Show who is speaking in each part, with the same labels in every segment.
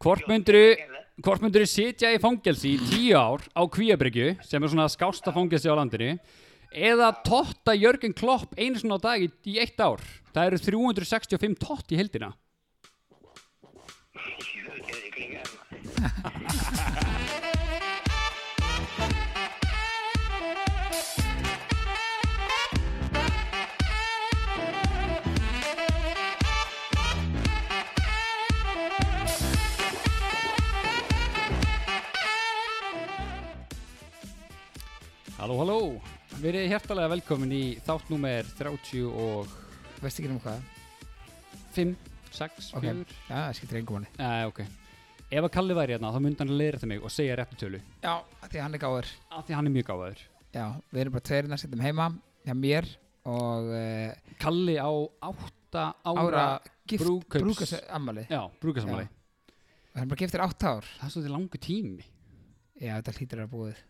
Speaker 1: Hvort myndirðu, hvort myndirðu sitja í fangelsi í tíu ár á Kvíabryggju, sem er svona skásta fangelsi á landinu, eða totta Jörgen Klopp einu svona á dag í, í eitt ár? Það eru 365 tott í heldina. Halló, halló. Verið hjertalega velkomin í þátt númer 30 og
Speaker 2: Veist ekki um hvað?
Speaker 1: 5, 6, 4.
Speaker 2: Ok, já, það skiptir engum manni
Speaker 1: Nei, ok. Ef að Kalli væri hérna, þá myndi hann leira þetta mig og segja réttu tölu.
Speaker 2: Já, af því að hann er gáður
Speaker 1: Af því hann er mjög gáðaður.
Speaker 2: Já, við erum bara tveirinn að setjum heima hjá mér og uh,
Speaker 1: Kalli á 8 ára,
Speaker 2: ára gift
Speaker 1: brúðkaups-
Speaker 2: brúkas ammali
Speaker 1: Já, brúkasamali.
Speaker 2: og hann bara giftir átt ár
Speaker 1: Það er svolítið langu tími.
Speaker 2: Já, þetta hlýtur að vera búið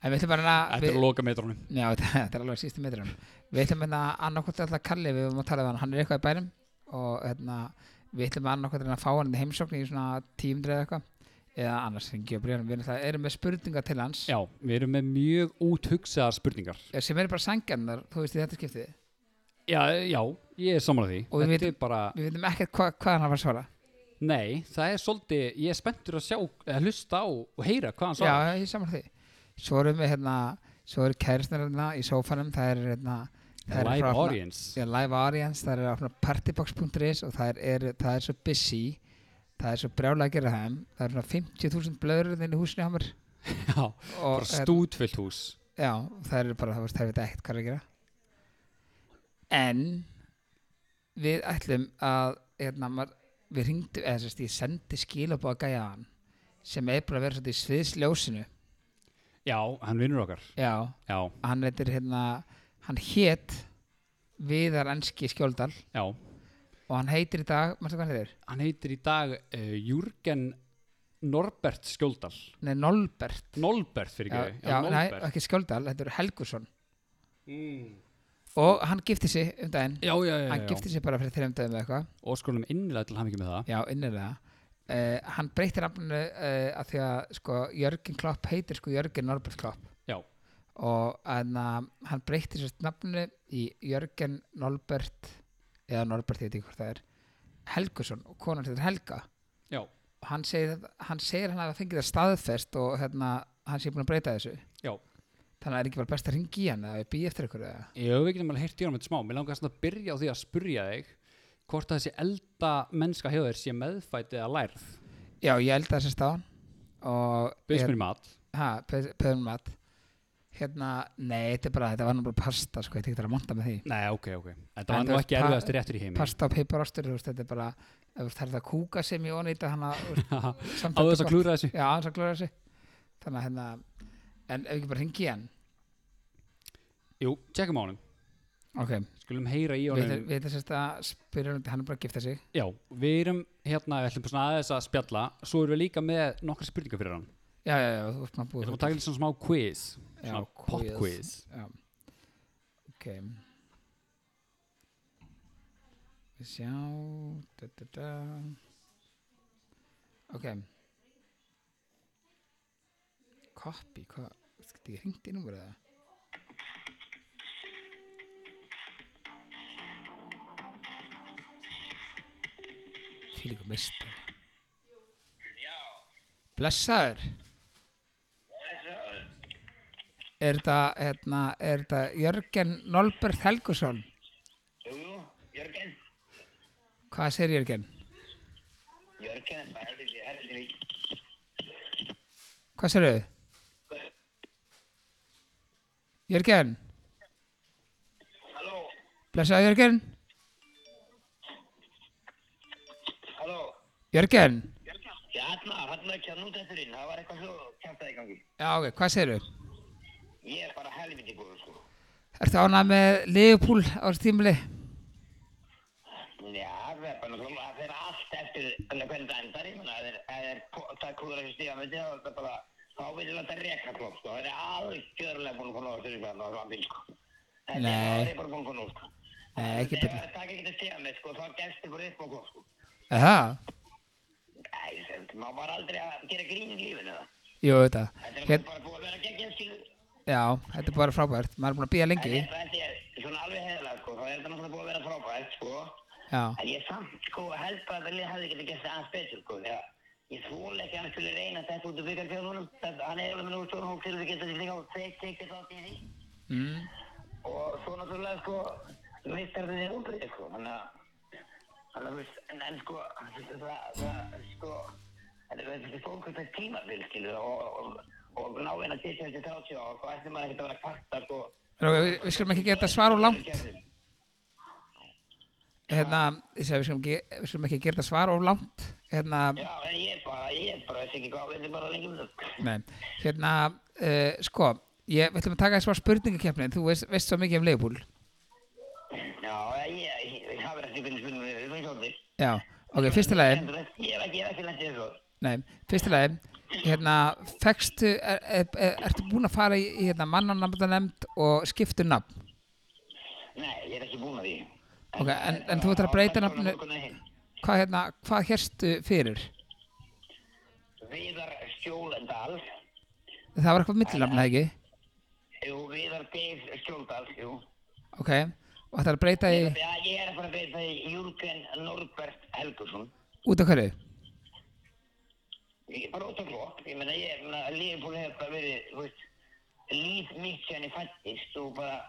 Speaker 2: En við ætlum bara að
Speaker 1: Þetta er að loka metrónum.
Speaker 2: Já, þetta þetta er alveg sístu metrum Við ætlum hérna annarkvæmt alltaf Kalli við höfum að tala við hann, hann er eitthvað í bænum og hérna, við ætlum annarkvæmt að fá hann í heimsókn í svona tímdreið eða eitthvað eða annars hringi og bregðan við náttúrulega erum með spurningar til hans
Speaker 1: Já, við erum með mjög úthugsaðar spurningar.
Speaker 2: sem eru bara sangjarnar, þú veist, í þetta skiptið
Speaker 1: Já, já, ég er samanlega því.
Speaker 2: Og við
Speaker 1: Þetta
Speaker 2: vitum-
Speaker 1: er bara,
Speaker 2: Við veitum ekkert hva, hvað hann var að svara
Speaker 1: nei, það er svolítið, ég er spenntur að sjá, að hlusta á og heyra hvað hann
Speaker 2: Já,
Speaker 1: svarar.
Speaker 2: ég samar því Svo erum við hérna Svo eru kærisnar hérna í sófanum Það er hérna það eru
Speaker 1: Live
Speaker 2: frá-
Speaker 1: audience.
Speaker 2: Já, live audience Það er á partybox.is og það er, það er svo busy Það er svo brjálega að gera þeim Það er svona 50.000 blöður þinn í húsinu hamar
Speaker 1: Já, bara
Speaker 2: hérna,
Speaker 1: stútfyllt hús.
Speaker 2: Já, það er bara Það, það er veit ekkert hvað er að gera En Við ætlum að hérna, maður, Við ringdu eða, sérst, Ég sendi skilabóð að gæja hann sem er bara að vera svolítið í sviðsljósinu
Speaker 1: Já, hann vinnur okkar.
Speaker 2: Já,
Speaker 1: Já,
Speaker 2: hann heitir hérna hann hét Viðar Enski Skjóldal
Speaker 1: já.
Speaker 2: og hann heitir í dag, maður hvað hann heitir?
Speaker 1: Hann heitir í dag uh, Jürgen Norbert Skjóldal.
Speaker 2: Nei, Nolbert
Speaker 1: Nolbert fyrir
Speaker 2: Já,
Speaker 1: ekki.
Speaker 2: já nei,
Speaker 1: Nolbert.
Speaker 2: ekki Skjóldal, þetta er Helgursson
Speaker 1: Mm.
Speaker 2: og hann gifti sig um daginn
Speaker 1: Já, já, já,
Speaker 2: hann
Speaker 1: já.
Speaker 2: gifti sig bara fyrir þreim dagum eða eitthvað
Speaker 1: Og skonum innilega til hann ekki með það.
Speaker 2: já, innilega uh, hann breytir nafninu uh, að því að sko, Jörgen Klopp heitir sko Jörgen Norbert Klopp
Speaker 1: Já.
Speaker 2: og en, uh, hann breytir sérst nafninu í Jörgen Nolbert eða Norbert, ég veit ekki hvort það er Helgursson og konar þetta er Helga
Speaker 1: Já,
Speaker 2: Og hann segir, hann segir hann að fengið það staðfest og hérna, hann sé búin að breyta þessu
Speaker 1: já.
Speaker 2: þannig að það er ekki bara best að ringi í hann eða býja eftir ykkur eða
Speaker 1: Ég hef ekki nefnilega heyrt í honum þetta smá. Mér langar svona að byrja á því að spyrja þig hvort að þessi elda mennska hjá þér sé meðfætt eða lærð.
Speaker 2: já ég held þessi staðan og
Speaker 1: Byrst mér í mat.
Speaker 2: pöðum mat hérna, nei þetta er bara þetta var nú bara pasta sko, ég tekið það að monta með því
Speaker 1: Nei, ok, ok.
Speaker 2: En
Speaker 1: Þetta var
Speaker 2: þú
Speaker 1: nú
Speaker 2: veist,
Speaker 1: ekki
Speaker 2: pa-
Speaker 1: erfiðast réttur í heimi.
Speaker 2: pasta og peiparostur, þú veist, þetta er bara ef þú þarf það að kúka sem ég onni í þetta þannig að samt
Speaker 1: Á
Speaker 2: þetta
Speaker 1: þess
Speaker 2: gott.
Speaker 1: að klúra þessu.
Speaker 2: já, aðeins að klúra þessu þannig að hérna, en ef ekki bara ringi í hann
Speaker 1: Jú, tjekkum á honum.
Speaker 2: ok,
Speaker 1: Skulum heyra í
Speaker 2: við
Speaker 1: honum.
Speaker 2: þetta sérst að spyrja hann hann er bara að gifta sig
Speaker 1: Já, við erum hérna, við ætlum svona aðeins að spjalla. Svo erum við líka með nokkra spurningar fyrir hann.
Speaker 2: já, já, já, þú ert maður
Speaker 1: Við
Speaker 2: búið
Speaker 1: ætlum að taka lítið svona smá quiz. Svona pop quiz.
Speaker 2: Já. Ok. Við sjá. Da, da, da. Ok. Copy, hvað? Skilti ég hringt í númur eða? Fylgur mista. Blessaður. Er þetta, hérna, er þetta Jörgen Nolbert Helgusson?
Speaker 3: Jú, jú, Jörgen.
Speaker 2: Hvað segir Jörgen?
Speaker 3: Jörgen er bara helviti, helviti lík.
Speaker 2: Hvað segir þau? Jörgen,
Speaker 3: Halló,
Speaker 2: blessaðu Jörgen?
Speaker 3: halló.
Speaker 2: Jörgen?
Speaker 3: Já, hérna, hérna er kjarnútesturinn. Það var eitthvað hljóð, kjartaði gangi.
Speaker 2: Já, ok, hvað segir þau?
Speaker 3: Ég er bara helviti góður, sko.
Speaker 2: Ertu ánað með Leopold ára tímli?
Speaker 3: Já, það er bara náttúrulega, það fer allt eftir hvernig hvernig það endar. Ég meina, ef þeir- ef þeir ko- það er kúður þessu stíða myndi, þá er þetta bara, þá vil ég láta reka klopp, sko. Það er algjörlega búin að koma úr þessu fjarn og það bíl, sko. Þetta
Speaker 2: Nei.
Speaker 3: er- það er bara búin að koma úr, sko.
Speaker 2: Nei, ekki
Speaker 3: Ef
Speaker 2: byrja.
Speaker 3: það taka ekki til stíða sko, þá gefst ykkur upp og kom, sko.
Speaker 2: Aha,
Speaker 3: Má bara aldrei að gera grín í lífinu það.
Speaker 2: Jú, þetta.
Speaker 3: Þetta er
Speaker 2: Hér,
Speaker 3: bara búið að vera geggjað skilur.
Speaker 2: já, þetta er bara frábært. Maður er búin að býja
Speaker 3: En
Speaker 2: lengi.
Speaker 3: ég- Þetta er svona alveg heiðlega sko, þá er þetta náttúrulega búið að vera frábært sko.
Speaker 2: Já,
Speaker 3: En ég samt sko held bara að þetta lið hefði getið gert það aðeins betur sko. Já. Ég þvóla ekki að hann skulle reyna þetta út úr byggarfjörðunum. Hann er alveg með núr stórhók til að geta þetta líka og tekið þátt í því.
Speaker 2: mm,
Speaker 3: og svo náttúrulega sko meistarðin er umbrið sko þannig að þannig að þú veist, en, en sko það, það sko þetta er þetta fólkvæmt að tímabil skilur og, og, og, og náinn að titla þessi 30 og sko ætti maður ekkert að vera að kvarta sko
Speaker 2: Nú, við, við skulum ekki gera þetta svar og langt. Hérna, ég segi, við skulum ekki, við skulum ekki gera þetta svar og langt. Hérna,
Speaker 3: já en ég er bara ég er bara veist ekki hvað við erum bara lengi um það
Speaker 2: nei, hérna, uh, sko, ég, við ætlum að taka þess var spurningakeppnin. Þú veist, veist svo mikið um leifbúl.
Speaker 3: já ég- ég ég hafa ekki byrjun spurningum við erum ekki hótti
Speaker 2: Já, ok, fyrsta lagi.
Speaker 3: ég er ekki ég er ekki lendið þessu
Speaker 2: Nei, fyrsta lagi, hérna, fekstu, er, er, er, ertu búin að fara í, í hérna, mannanamndanemnd og skiptu nafn?
Speaker 3: nei ég er ekki búin að því
Speaker 2: Ok, en- en þú ætlar að breyta nafninu- Hvað, hérna, hvað hérstu fyrir?
Speaker 3: Viðar Skjólendal
Speaker 2: Það var eitthvað millinafn, eða ekki?
Speaker 3: Jú, Viðar Geir Skjóldal, jú.
Speaker 2: Ok, og ætlar að breyta í,
Speaker 3: Já, ég er að fara að beita í Júlgen Norbert Helgursson.
Speaker 2: út af hverju?
Speaker 3: Ég er bara út af klokk, ég meina, ég meina, Liverpool hefur bara verið, þú veist, líf mitt sem ég fættist og bara,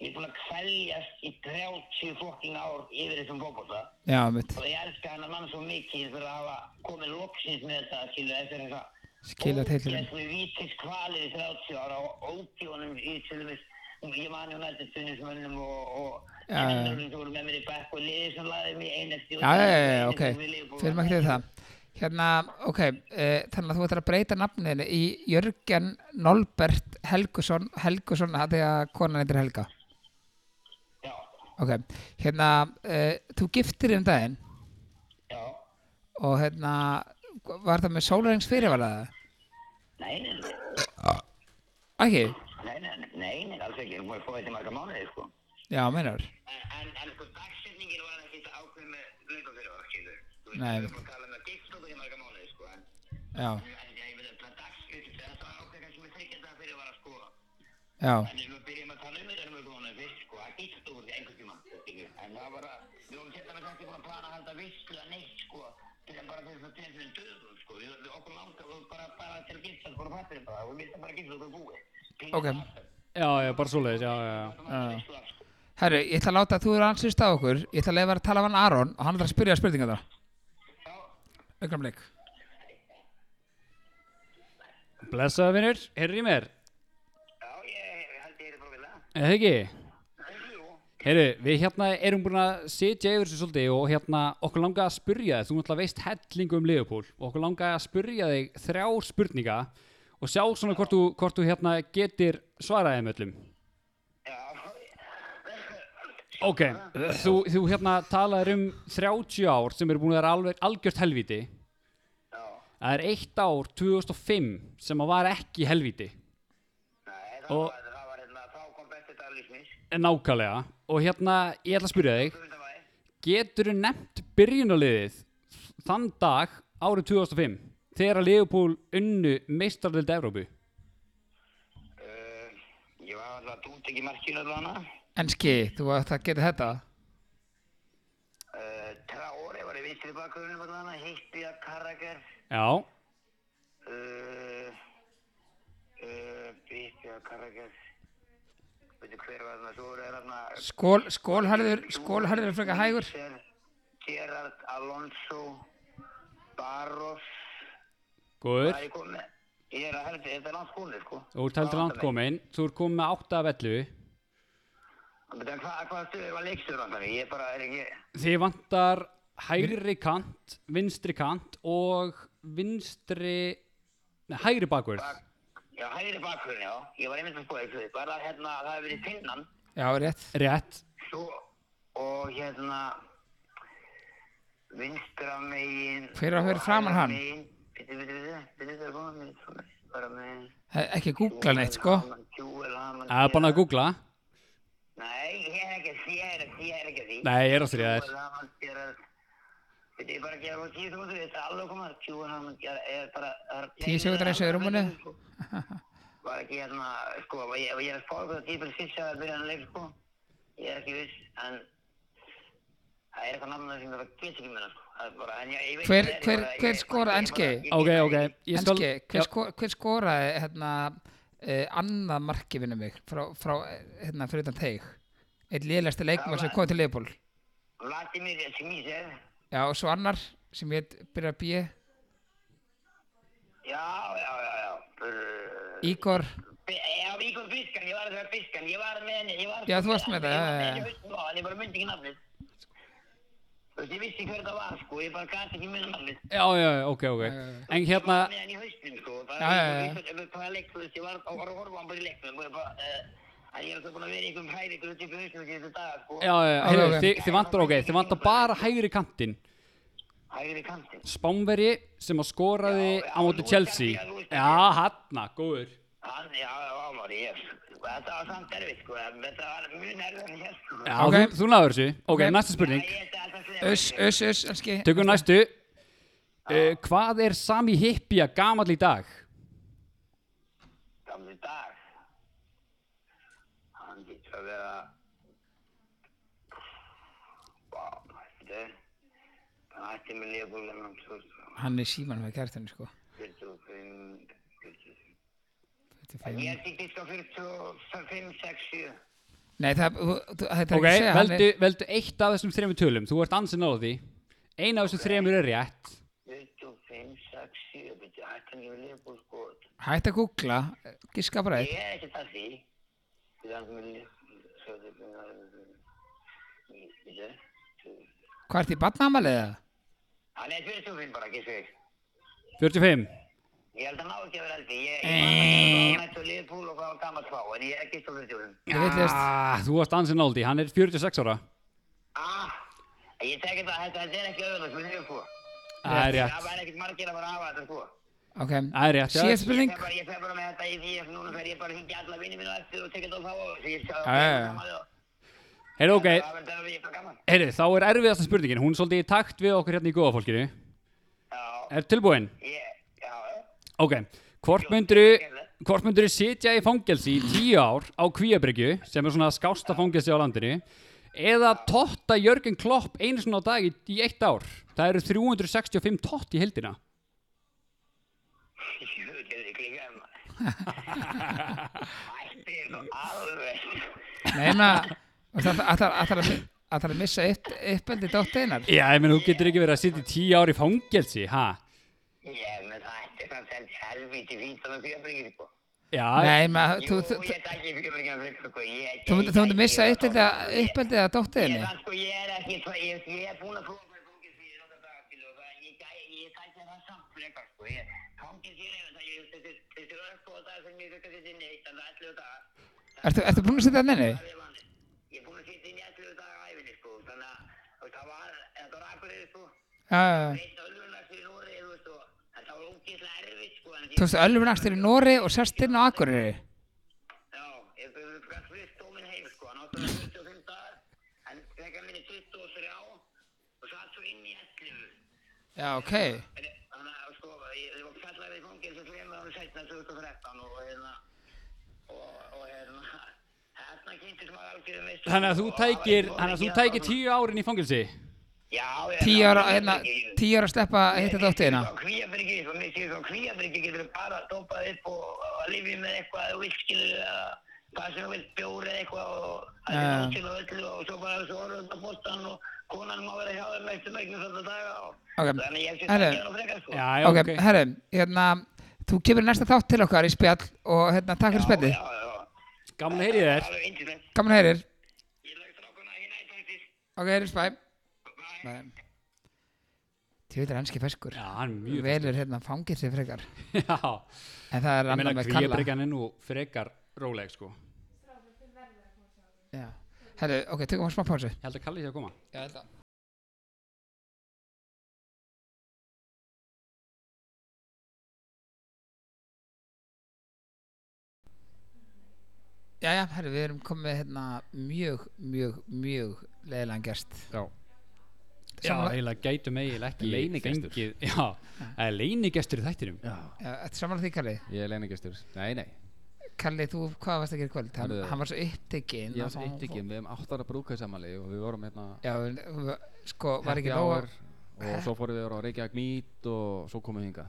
Speaker 3: ég er búin að kvæljast í 30 fokking ár yfir þessum fókbóta
Speaker 2: Já, mitt,
Speaker 3: og ég elska hann mann svo mikið fyrir að hafa komið loksins með þetta, skilu, eftir þessa
Speaker 2: skilja teillurinn.
Speaker 3: Ógæslu vítis kvalir í 30 ára og ógjónum í tilvæmis ég man hjá nættið stundinsmönnum og, og
Speaker 2: Já, já, já.
Speaker 3: kennurum sem voru með mér í bekk og liðið sem laðið mig
Speaker 2: Já,
Speaker 3: einasti
Speaker 2: já, já, já, ok, fyrir maður ekki það. Hérna, ok, uh, þannig að þú ætlar að breyta nafninu í Jörgen Nolbert Helgusson, Helgusson, það er að konan eitthvað Helga.
Speaker 3: Já,
Speaker 2: Ok, hérna, uh, þú giftir um daginn
Speaker 3: já,
Speaker 2: og hérna, var það með sólarhengs fyrirvaraða?
Speaker 3: nei, nei, nei,
Speaker 2: Ekki?
Speaker 3: nei, nei, nei, nei, alls ekki, hún er fóðið til marga mánuði, sko
Speaker 2: Já, meinar.
Speaker 3: En, en, en sko, dagsetningin var ekki ákveð með löngu fyrir var, skilur
Speaker 2: Nei,
Speaker 3: Þú veist,
Speaker 2: einmitt.
Speaker 3: þú að tala með gift og í marga mánuði, sko En,
Speaker 2: Já,
Speaker 3: en ég veit að dagsetningin, þetta var ákveð kannski með þryggja dag fyrir var að sko
Speaker 2: já,
Speaker 3: En ef við byrjum að tala um þetta um einhvern veginn fyrst, sko, að gitt úr því einhvern tíma, skilju. En það var að, við vorum hérna kannski búin að plana að halda vissu að neitt, sko, til að bara til þess að til fyrir döðum, sko. Við, við okkur langar og bara, bara til að gitta, bara fattir bara, við vildum bara gitta og það búið. Pínu
Speaker 2: ok.
Speaker 1: Já, já, bara svoleiðis, já, já, já.
Speaker 3: að veislu af, sko.
Speaker 2: Herru, ég ætla að láta að þú eru ansýst á okkur, ég ætla að leiða að tala af hann Aron og hann ætla að spyrja spurninga það.
Speaker 3: Já,
Speaker 2: Ögnarblik.
Speaker 1: Blessaðu vinnir, heyrðu í mér,
Speaker 3: já, ég held ég er frá vilja.
Speaker 1: eða ekki?
Speaker 3: Jú,
Speaker 1: Heyrðu, við hérna erum búin að sitja yfir þessu svolítið og hérna okkur langa að spyrja þig, þú náttúrulega veist hellingu um Liverpool og okkur langa að spyrja þig þrjá spurninga og sjá svona hvort þú, hvort þú hérna getir svaraðið með öllum.
Speaker 3: já,
Speaker 1: Ok, þú, þú hérna talaðir um 30 ár sem eru búin að vera alveg algjört helvíti.
Speaker 3: já.
Speaker 1: Það er eitt ár, 2005, sem að var ekki helvíti.
Speaker 3: Nei, það
Speaker 1: Og-
Speaker 3: var, það var hérna, þá kom bestið daglísmis,
Speaker 1: En nákvæmlega. Og hérna, ég ætla að spyrja þig,
Speaker 3: þú veit að væri.
Speaker 1: getur þú nefnt byrjunarliðið þann dag árið 2005 þegar að Leopold unnu meistardild Evrópu?
Speaker 3: Uh, ég var alltaf dúnt ekki markinu allavega.
Speaker 2: Enski, þú ætti að geta þetta.
Speaker 3: Uh, Traore var í vinstri bakgrunum allavega, Hippia, Carragher,
Speaker 1: Já,
Speaker 3: uh, uh, Hippia, Carragher, veitu hver var þarna, svo voru þér þarna...
Speaker 2: Skól, skólharður, skólharður er frekar hægur.
Speaker 3: Schulzer, Gerard, Alonso, Barros,
Speaker 1: góður.
Speaker 3: það er komið, ég er að heldur, þetta er langt skónið sko.
Speaker 1: Þú ert heldur langt komin, þú ert komin með 8 af 11.
Speaker 3: En hvað hva stöðu var leikstur þannig, ég bara er ekki...
Speaker 1: Þið vantar hægri kant, vinstri kant og vinstri, nei, hægri bakvörð.
Speaker 3: Já, hægri bakgrunni, já, ég var einmitt að skoða þessu, bara hérna, það hefur verið finnan,
Speaker 2: Já, rétt.
Speaker 1: Rétt,
Speaker 3: Svo, og hérna, vinstra megin...
Speaker 2: Hver á að vera framan hann?
Speaker 3: Bitti, bitti, bitti, bitti, það er góða megin, svo er bara megin...
Speaker 2: He, ekki googla neitt, sko.
Speaker 3: Júel Hamann...
Speaker 1: það er bara að googla.
Speaker 3: Nei, ég er ekki að því, ég er ekki að því, ég er ekki að því.
Speaker 1: Nei, ég er að stríða þér.
Speaker 3: Júel Hamann, ég er að... Bitti, ég bara að gera og tíu sekundur, þetta er alveg komað, tjúin hann er er bara... er-
Speaker 2: Tíu sekúndur eins og í rúminu.
Speaker 3: Var ekki hérna, sko, og ég, og ég er að spá hvað tíu fyrir fyrst að byrja hann leik, sko. Ég er ekki viss, en það er eitthvað namna sem ég bara get ekki minna, sko. Það er bara, en ég, ég veit...
Speaker 2: Hver-
Speaker 3: ekki,
Speaker 2: hver-
Speaker 3: ég bara-
Speaker 2: hver
Speaker 3: ég-
Speaker 2: skoraði
Speaker 3: ég bara-
Speaker 2: NG?
Speaker 3: ég-
Speaker 1: Ok, ok, ég skal...
Speaker 2: Enski,
Speaker 1: Já,
Speaker 2: hver, sko, hver skoraði hérna, uh, annað marki vinnu mig frá, frá eh, hérna, fyrir utan teig einn lélægsti leikmar sem kom til Leopold
Speaker 3: Vladimir Smísev,
Speaker 2: já og svo annar sem ég byrja að býja
Speaker 3: já, já, já, já, brr...
Speaker 2: Ígor,
Speaker 3: Bi- Já, Ígor Biskan, ég var að segja Biskan, ég var með henni, ég var...
Speaker 2: Já, þú varst með það,
Speaker 3: Ég
Speaker 2: já,
Speaker 3: var með
Speaker 2: já,
Speaker 3: henni
Speaker 2: já.
Speaker 3: hausnum á, en ég bara myndi ekki nafnið. Þú veist, ég vissi hver það var, sko, ég bara gæti ekki minna nafnið.
Speaker 1: já, já, ok, ok En
Speaker 3: Ég
Speaker 1: hérna,
Speaker 3: var með henni í hausnum, sko, bara...
Speaker 2: Já, já, já.
Speaker 3: Ég vissi hvað leik, þú veist, ég var að var að horfa á hann bara í leiknum, og ég bara... eh, En ég er alltaf búin að vera í einhverjum hæri, ykkur upp í hausnum þessi dag, sko.
Speaker 1: já, já,
Speaker 2: Ok,
Speaker 1: heyrðu,
Speaker 2: ok.
Speaker 1: þið, þið vantar ok, þið vantar bara hægri kantinn
Speaker 3: Hægri kantinn.
Speaker 1: Spánveri sem að skoraði
Speaker 3: Já, já,
Speaker 1: á móti
Speaker 3: Luis
Speaker 1: Chelsea
Speaker 3: García, Luis García.
Speaker 1: Já, hanna, góður
Speaker 3: Hann, já, já, hann var ég. Þetta var samt erfið, sko, en þetta var mjög nærður en hér, sko.
Speaker 1: Já,
Speaker 2: Ok.
Speaker 1: þú, þú náður þessu Ok,
Speaker 2: Ok.
Speaker 1: næsta spurning
Speaker 3: Ég ætti alltaf að segja
Speaker 2: Öss,
Speaker 3: þetta.
Speaker 2: Öss, Öss, Enski
Speaker 1: Tökum næstu uh, Hvað er Sami Hippia gamall í dag?
Speaker 3: gamli dag hann getur að vera Vá, hættu hann hætti með liðból en hann
Speaker 2: hann er síman með kærtinu sko
Speaker 3: 45 45.
Speaker 2: 45.
Speaker 3: ég ætti ekki sko 45, 60
Speaker 2: nei það, þú- þú- þetta er
Speaker 1: Ok,
Speaker 2: ekki að segja hann
Speaker 1: veldu,
Speaker 2: er,
Speaker 1: veldu eitt af þessum þremur tölum Þú ert ansinn á því Eina af þessum þremur er rétt
Speaker 3: 45, 60 betur hætti hann með liðból sko
Speaker 2: hætt að googla giska bara eitt
Speaker 3: ég er ekki það því við hann með liðból
Speaker 2: hvað ert í badnamalið eða?
Speaker 3: hann er 25 bara ekki segið
Speaker 1: 45
Speaker 3: Ég held að ná ekki að vera eldi, ég, ég var ekki að mæta liðbúl og hvað var gammalt fá, en ég er ekki stóður tjóðum.
Speaker 2: Ég villist.
Speaker 1: ah, Þú varst ansinn á því, hann er 46 ára
Speaker 3: Ah, ég tek þetta, þetta þetta er ekki öðvöld, við erum sko.
Speaker 1: Það er
Speaker 3: Það
Speaker 1: rétt,
Speaker 3: var ekkert margir að fara að hafa þetta sko.
Speaker 2: ok,
Speaker 1: það er rétt já.
Speaker 2: síðast
Speaker 3: Ég
Speaker 2: spurning
Speaker 3: fer bara, ég fer bara með þetta í því, núna fer ég bara hengja alla vinni mínu eftir og tek þetta á þá og því ég sjá
Speaker 2: Já, já, já.
Speaker 1: Heyrðu, ok,
Speaker 3: Það verður það að ég fara gaman.
Speaker 1: heyrðu, þá er erfiðasta spurningin Hún er svolítið í takt við okkur hérna í góða fólkinu
Speaker 3: Já,
Speaker 1: Er tilbúin?
Speaker 3: ég, já, já.
Speaker 1: Ok, hvort myndiru hvort myndiru sitja í fangelsi í tíu ár á Kvíabryggju sem er svona skásta fangelsi á landinu eða totta Jörgen Klopp einu svona á dag í, í eitt ár það eru 365 tott í heldina
Speaker 3: Jú, þetta er ekki gaman. Ætti ég nú alveg.
Speaker 2: neina, ætlar að missa eitt uppeldi dótt einar
Speaker 1: Já, ég menn, þú getur ekki verið að sitja í tíu ár í fangelsi, ha?
Speaker 3: Ég, menn það ætti samt helst helvíti fínt að það fyrir að bringa sko.
Speaker 1: Já,
Speaker 2: Nei, maður,
Speaker 3: Jú,
Speaker 2: þú, þú, þú,
Speaker 3: ég takk ég fyrir að fyrir sko, ég...
Speaker 2: þú myndir myndi missa uppeldið að
Speaker 3: Ég,
Speaker 2: uppeldið að dóttiðinni.
Speaker 3: það sko, ég er ekki, ég, ég er búin að prófa með fangins í þetta dag, skilu, það, ég gæ, ég tækja það samt frekar, sko, ég, fangins í þetta, ég, þessi, þessi örfó dag sem ég þurfti að setja inn eitt, en það ætlu dag,
Speaker 2: Ertu, ertu búin að setja það neyni?
Speaker 3: það er vanið, ég er búin að setja inn í ætlu dag á æfinni, sko, þannig að, þú veist, það var, þetta var akkurir, sko,
Speaker 2: Já, já, já.
Speaker 3: eitt á öllunarsir í Noregi, þú veist, og þetta var ógeðslega erfitt, sko, en ég,
Speaker 2: Þú veist, ölfur næstur í Nóri og sérst inn á Akureyri.
Speaker 3: Já, ég byrði bara fyrst dóminn heim sko, hann átti að vera 25 dagar, en fekk hann minni 23 á og satt svo inn í 11.
Speaker 2: Já, ok.
Speaker 3: En ég- Þannig að sko, ég, ég var fjallar í fangins og fremur árum setna 2013 og hérna, og, og hérna, hérna kynnti sem að algjörðu meist.
Speaker 1: þannig að þú tækir, þannig að þú tækir tíu árin í fangelsi
Speaker 3: hérna Já, já.
Speaker 2: Tíu ára, hérna, tíu ára að sleppa að hitta dóttiðina.
Speaker 3: Kvíabyrgi, svo mér séu svo kvíabyrgi getur bara dopað upp og að lifið með eitthvað eða vilskilu eða hvað sem þú vilt bjóri eða eitthvað og það
Speaker 2: Já.
Speaker 3: er áttil og öllu og svo bara svo orðið út á bóttan og konan má vera hjá þeim eftir megnum þetta daga og
Speaker 2: Ok.
Speaker 3: þannig ég sé
Speaker 2: Herru.
Speaker 3: það ekki á frekar sko.
Speaker 1: Já, já,
Speaker 2: Ok,
Speaker 1: ok
Speaker 2: herru, hérna, þú kemur í næsta þátt til okkar í spjall og hérna, takk fyrir spjallið.
Speaker 3: Já, já, já.
Speaker 1: Gaman að heyri þér
Speaker 3: Það er índislegt.
Speaker 2: Gaman að heyrir.
Speaker 3: Ég lög strákuna í nættættis.
Speaker 2: Ok, heyrir spæ. Tjóður enski feskur.
Speaker 1: Já, hann er mjög
Speaker 2: Velur hérna fangir sig frekar.
Speaker 1: Já,
Speaker 2: En það er
Speaker 1: ég
Speaker 2: annað
Speaker 1: meina
Speaker 2: með kalla.
Speaker 1: Kvíabryggjan er nú frekar róleg, sko Ég
Speaker 2: Já. Herru, ok, tökum að smá pásu.
Speaker 1: held að Kalli sé að koma
Speaker 2: Já, held að. Jæja, herru, við erum komið hérna mjög, mjög, mjög leiðilegan gest.
Speaker 1: Já, Já,
Speaker 2: samanlagt-
Speaker 1: eiginlega gætum eiginlega ekki
Speaker 4: Leynigestur.
Speaker 1: fengið- Já, það er leinigestur í þættinum
Speaker 4: Já.
Speaker 2: Já, Þetta er samanlega því Kalli
Speaker 4: Ég er leiningastur. Nei, nei.
Speaker 2: Kalli, þú, hvað varst að gera í kvöld? Hann,
Speaker 4: Herðu.
Speaker 2: hann var svo upptekinn
Speaker 4: Ég
Speaker 2: að
Speaker 4: var
Speaker 2: hann-
Speaker 4: upptíkin, við hefum átt ára brúkaðsamali og við vorum hérna
Speaker 2: Já, en, v- sko, var ekki
Speaker 4: happy
Speaker 2: nóg
Speaker 4: hour og svo fórum við á Reykjavík Meet og svo komum við hinga.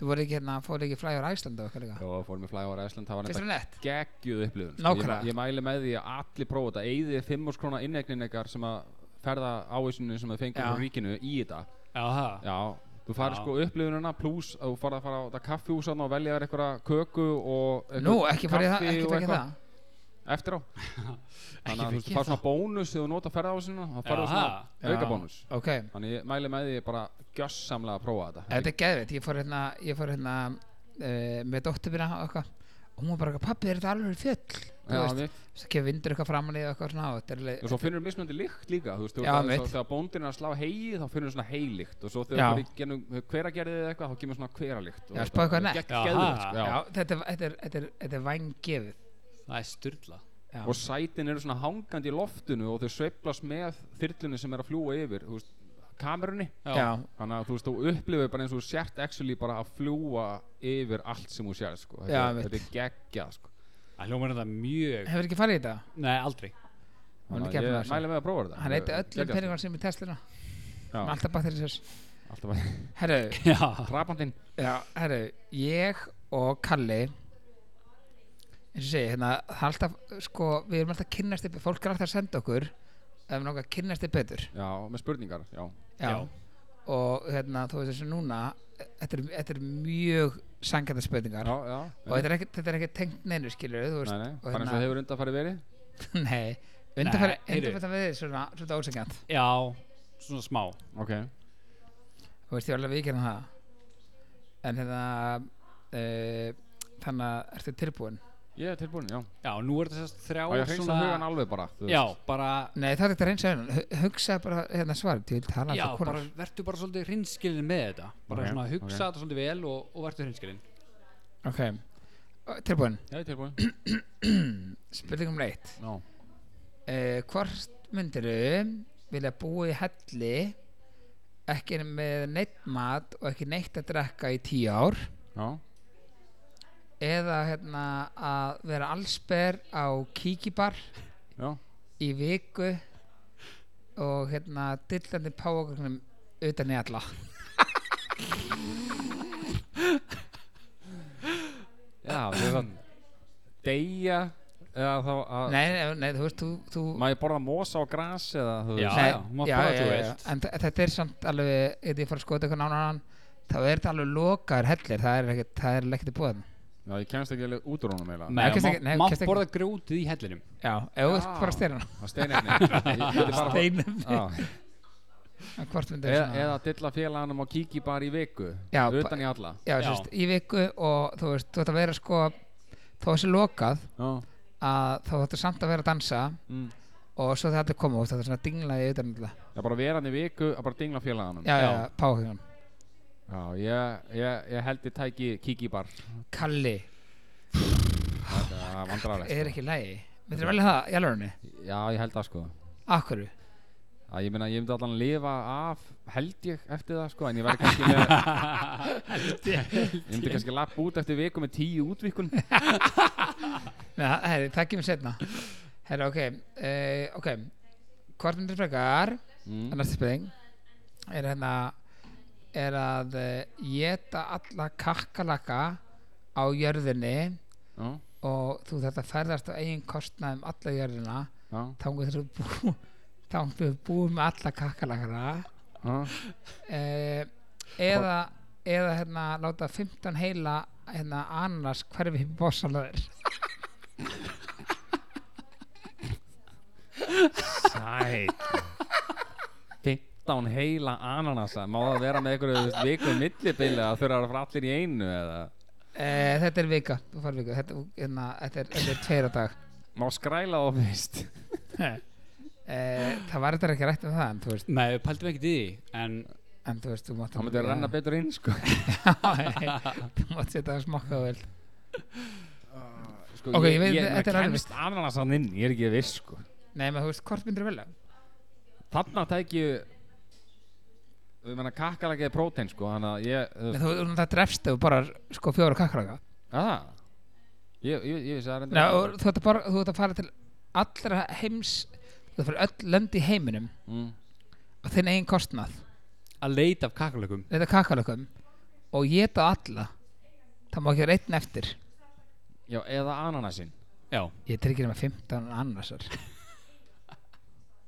Speaker 2: Þú voru ekki hérna, fóru ekki flægur Æslanda og eitthvað líka
Speaker 4: Og fórum við flæði ára Æsland, það var
Speaker 2: Fyrst er
Speaker 4: nefnilega
Speaker 2: nett
Speaker 4: geggjuð upplifun sko.
Speaker 2: Nákvæmlega.
Speaker 4: ég, ég mæli með því að allir prófa þetta eigðið 5 krónar innegnin ykkar sem að ferða ávísinu sem þið fengum
Speaker 2: Já.
Speaker 4: frá ríkinu í þetta
Speaker 1: Já, það
Speaker 4: já þú farir
Speaker 1: Já.
Speaker 4: sko upplifununa pluss að þú farið að fara á þetta kaffihús þarna og velja þér einhverja köku og
Speaker 2: Nú, ekki farið það,
Speaker 4: kaffi
Speaker 2: ekki
Speaker 4: og
Speaker 2: tekið
Speaker 4: eitthvað
Speaker 2: það
Speaker 4: eftir á þannig að þú veist,
Speaker 1: fengið
Speaker 4: þú fær svona bónus þegar þú nota ferðaávísinu þá
Speaker 1: Já,
Speaker 4: farið þú
Speaker 2: það.
Speaker 4: svona auka
Speaker 2: Já.
Speaker 4: bónus
Speaker 2: Ok,
Speaker 4: þannig ég mæli með því bara gjössamlega að prófa þetta
Speaker 2: þetta er geðvitt Ég fór hérna, ég fór hérna uh, með dóttur mína og eitthvað og hún var bara, pappi, er þetta alveg fjöll? Þú
Speaker 4: Já,
Speaker 2: veist,
Speaker 4: mitt.
Speaker 2: svo kemur vindur eitthvað framan í og eitthvað svona og þetta er
Speaker 4: og
Speaker 2: alveg
Speaker 4: svo finnur mismunandi lykt líka þú veist, þú
Speaker 2: Já,
Speaker 4: veist, að-
Speaker 2: mitt.
Speaker 4: svo þegar bóndin er að slá heið þá finnur svona heilikt og svo
Speaker 2: Já.
Speaker 4: þegar þú fyrir genum hveragerðið eða eitthvað þá kemur svona hveralykt og
Speaker 2: Já,
Speaker 4: þetta-
Speaker 2: spáðu hvað er
Speaker 4: þetta
Speaker 2: nett.
Speaker 4: er gegn-
Speaker 1: Jaha.
Speaker 4: geðveikt, sko,
Speaker 2: Já,
Speaker 4: já.
Speaker 2: þetta er- þetta er- þetta er- þetta er vængefið
Speaker 1: Það er styrla
Speaker 2: Já.
Speaker 4: og sætin eru svona hangandi í loftinu og þau sveiflast með þyrlunni sem er að fljúa yfir þú veist, kamerunni
Speaker 2: Já,
Speaker 4: þannig að þú veist, þú upplifir bara eins og þú sért actually bara að fljúa yfir allt sem þú sér sko. þetta,
Speaker 2: Já,
Speaker 4: er-
Speaker 2: mitt.
Speaker 4: þetta er geggjað sko.
Speaker 1: Það hljómar þetta mjög
Speaker 2: hefur ekki farið í þetta?
Speaker 1: Nei, aldrei
Speaker 2: Hún er
Speaker 4: Þannig
Speaker 2: ekki
Speaker 4: að
Speaker 2: efni á
Speaker 4: ég
Speaker 2: þessu.
Speaker 4: mæli með að prófa þetta
Speaker 2: Hann
Speaker 4: Þetta
Speaker 2: eitthvað
Speaker 4: er
Speaker 2: öllum
Speaker 4: geggjað, sko.
Speaker 2: peningum sem í Tesluna
Speaker 4: Já,
Speaker 2: með alltaf batterisers
Speaker 4: alltaf bara
Speaker 2: Herru,
Speaker 1: Já,
Speaker 4: Trabantinn
Speaker 2: Já, herru, ég og Kalli eins og ég segi, hérna það er alltaf, sko, við erum alltaf að kynnast upp fólk er alltaf að senda okkur ef við náttúrulega kynnast upp betur
Speaker 4: Já, með spurningar Já,
Speaker 1: Já.
Speaker 2: og hérna, þú veist þessu núna e- þetta er, þetta er mjög sangjarnar spurningar
Speaker 4: já, já
Speaker 2: og þetta er ekki, þetta er ekki tengt neinu, skilur þú veist,
Speaker 4: Nei, nei,
Speaker 2: og hérna-
Speaker 4: bara eins og hefur undanfæri verið
Speaker 2: nei, undanfæri
Speaker 1: Nei, heyrðu.
Speaker 2: undanfæri við svona, svona ósengjant
Speaker 1: já Svona smá
Speaker 4: Ok
Speaker 2: þú veist, ég var alveg viðkjörn það en hérna uh, þannig að ertu tilbúin
Speaker 4: Ég er tilbúin, já
Speaker 1: Já, nú er þetta sérst þrjá
Speaker 4: Og ég hreinsa hugan alveg bara þú veist.
Speaker 1: Já, bara
Speaker 2: Nei, það er þetta reyns aðeins Hugsa bara hérna svarið Ég vil tala
Speaker 1: Já,
Speaker 2: alltaf
Speaker 1: bara
Speaker 2: konar
Speaker 1: verður bara svolítið hreinskilin með þetta Bara
Speaker 4: Ok,
Speaker 1: svona hugsa
Speaker 4: ok.
Speaker 1: þetta svolítið vel og, og verður hreinskilin
Speaker 2: Ok Ö, Tilbúin
Speaker 4: Ég er tilbúin
Speaker 2: Spurning um reitt
Speaker 4: Já
Speaker 2: uh, Hvort myndirðu Vilja búa í helli Ekki með neitt mat Og ekki neitt að drekka í tíu ár
Speaker 4: Já
Speaker 2: Eða hérna Að vera allsber á kíkibar
Speaker 4: Já
Speaker 2: Í viku Og hérna Dillandi páagögnum Utan í alla
Speaker 4: Já, þú veist að Deyja Eða þá að
Speaker 2: Nei, nei, nei, þú veist Þú, þú
Speaker 4: Má ég borða mosa og gras eða þú
Speaker 1: Já,
Speaker 4: veist
Speaker 2: Nei,
Speaker 1: já, má
Speaker 2: já,
Speaker 1: prófa
Speaker 2: já,
Speaker 1: þú
Speaker 2: já,
Speaker 1: vilt.
Speaker 2: En þa- þetta er samt alveg, ef ég fór að skoða eitthvað nánaðan, þá er þetta alveg lokaður hellir, það er ekkert, það er ekkert í búðum.
Speaker 4: Já, ég kemst ekki alveg út úr honum eiginlega
Speaker 1: Nei,
Speaker 2: Nei, kannski
Speaker 1: má-
Speaker 2: ekki- nei,
Speaker 1: má
Speaker 2: kannski ekki.
Speaker 1: borða grjótið í hellinum
Speaker 2: Já, ef þú vilt bara styrna.
Speaker 4: Það steinefni Ég geti bara
Speaker 2: Steinum.
Speaker 4: Já,
Speaker 2: Hvort myndir
Speaker 4: eða, eða dilla félaganum og kíki bara í viku
Speaker 2: Já,
Speaker 4: Utan í alla
Speaker 2: Já,
Speaker 1: Já.
Speaker 2: þú veist, í viku og þú veist, þú ætti að vera sko, þó þessi lokað,
Speaker 4: Já
Speaker 2: að þá ætti samt að vera að dansa
Speaker 4: mm.
Speaker 2: og svo þetta er komið, þetta er svona dinglaði utan alltaf.
Speaker 4: Já, bara vera hann í viku að bara dingla félaganum
Speaker 2: Já, já,
Speaker 1: Já.
Speaker 2: já páhugan.
Speaker 4: Já, ég, ég, ég held ég tæki kíki bara
Speaker 2: Kalli,
Speaker 4: Það er vandrarlegt
Speaker 2: er ekki lægi. Myndir velja það í alvörunni?
Speaker 4: Já, ég held það sko
Speaker 2: Akkurru?
Speaker 4: að ég meina ég myndi allan lifa af held ég eftir það sko en ég verði kannski með ég myndi kannski lappa út eftir viku með tíu útvikun já,
Speaker 2: Nei, það- herri, það kemur setna Herri, ok, uh, ok Hvort myndir frekar
Speaker 4: Mm.
Speaker 2: mm. Næsta spurning Er hérna Er að uh, geta alla kakkalaka Á jörðinni
Speaker 4: já,
Speaker 2: Og þú þarft að ferðast á eigin kostnað Um alla jörðina Þangur þú bú Þangur þú búið með alla kakkalakana
Speaker 4: já,
Speaker 2: uh, Eða Eða hérna láta 15 heila Hérna annars hverfi bóssalöður
Speaker 4: sæt 15 heila ananasa má það vera með einhverju þú veist, viku millibili að þurfa að vera frá allir í einu eða
Speaker 2: Eh, þetta er vika, þú fari vika Þetta, hérna, þetta, er, þetta er tveira dag
Speaker 4: má skræla þá fyrst
Speaker 2: eh, Það var þetta ekki rætt um það En þú veist,
Speaker 1: Nei, við pæltum ekki í því En
Speaker 2: en, þú, veist þú mátt
Speaker 4: þá myndi að renna betur inn sko,
Speaker 2: Þú mátt setja það smokka vel
Speaker 4: sko
Speaker 2: Ok, ég veit-
Speaker 4: ég, ég,
Speaker 2: þetta er
Speaker 4: ég
Speaker 2: alveg
Speaker 4: kemst ananasan inn ég er ekki viss sko
Speaker 2: Nei, menn þú veist, hvort myndir velja
Speaker 4: þarna tæki ég Við menna kakkalakið er prótein sko Þannig að ég þú
Speaker 2: Nei,
Speaker 4: veist,
Speaker 2: þú náttúrulega drefst ef þú bara sko fjóra kakkalaka
Speaker 4: að það Ég, ég, ég vissi það
Speaker 2: Nei,
Speaker 4: reyndar
Speaker 2: og þú ert að bara, þú ert að fara til allra heims þú ert að fara öll lönd í heiminum
Speaker 4: mm.
Speaker 2: og þinn eigin kostnað
Speaker 1: að leita af kakalökum
Speaker 2: þetta kakalakum og ég á alla það má ekki vera einn eftir
Speaker 4: Já, eða ananasinn
Speaker 1: Já,
Speaker 2: ég tryggir með 15 annasar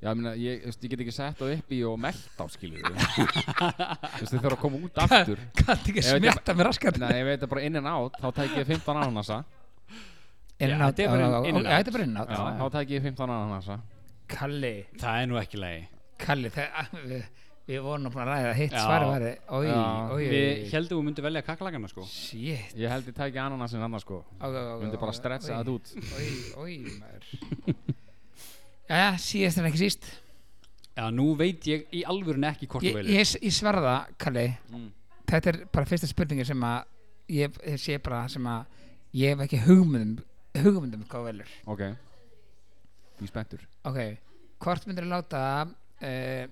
Speaker 4: Já, ég, meina, ég, þú veist, ég get ekki sett það upp í og meld á skilur Þú veist, þið þurfa að koma út aftur
Speaker 2: kannski ekki
Speaker 4: Ég veit
Speaker 2: smjatta með raskat
Speaker 4: Nei, ef þetta er bara in and out Þá tæk ég 15 ananasa
Speaker 1: Já, þetta er bara inn- inn-
Speaker 2: þetta er bara inn
Speaker 4: Já, þá tæk ég 15 ananasa
Speaker 2: Kalli
Speaker 1: það er nú ekki lagi
Speaker 2: Kalli þegar við, við vorum nú búin að ræða hitt
Speaker 1: Já.
Speaker 2: svari væri oi,
Speaker 4: Já,
Speaker 2: oi,
Speaker 1: Við heldum við myndum velja kakalakana sko
Speaker 2: shit
Speaker 4: Ég held ég tæki ananasinn annars sko Myndi bara stressa þetta út
Speaker 2: oi, oi, maður Jæja, síðast en ekki síst
Speaker 1: Já, nú veit ég í alvörun ekki hvort þú
Speaker 2: Ég,
Speaker 1: velja
Speaker 2: ég, ég sverða, Kalli
Speaker 4: Mm.
Speaker 2: Þetta er bara fyrsta spurningin sem að ég, ég sé bara sem að ég hef ekki hugmyndum hugmyndum um hvað þú velur
Speaker 4: Ok Ég er spenntur
Speaker 2: Ok, hvort myndir að láta uh,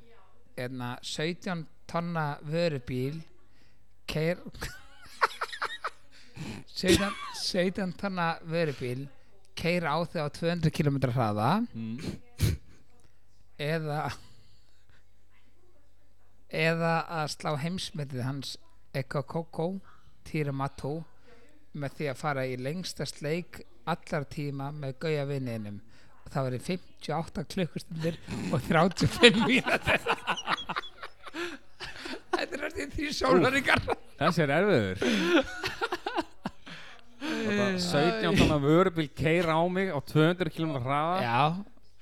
Speaker 2: eðna, 17 tonna vörubíl keir 17, 17 tonna vörubíl keira á þig á 200 km hraða
Speaker 4: mm.
Speaker 2: eða eða að slá heimsmetið hans Eko Koko Tiramato með því að fara í lengsta sleik allar tíma með gauja vinninum og það verið 58 klukkustundir og 35 mínútur Þetta er næstum því þrjú sólaringar
Speaker 4: Þessi er erfiður Þetta 17 tonna vörubíl keira á mig á 200 km hraða
Speaker 2: Já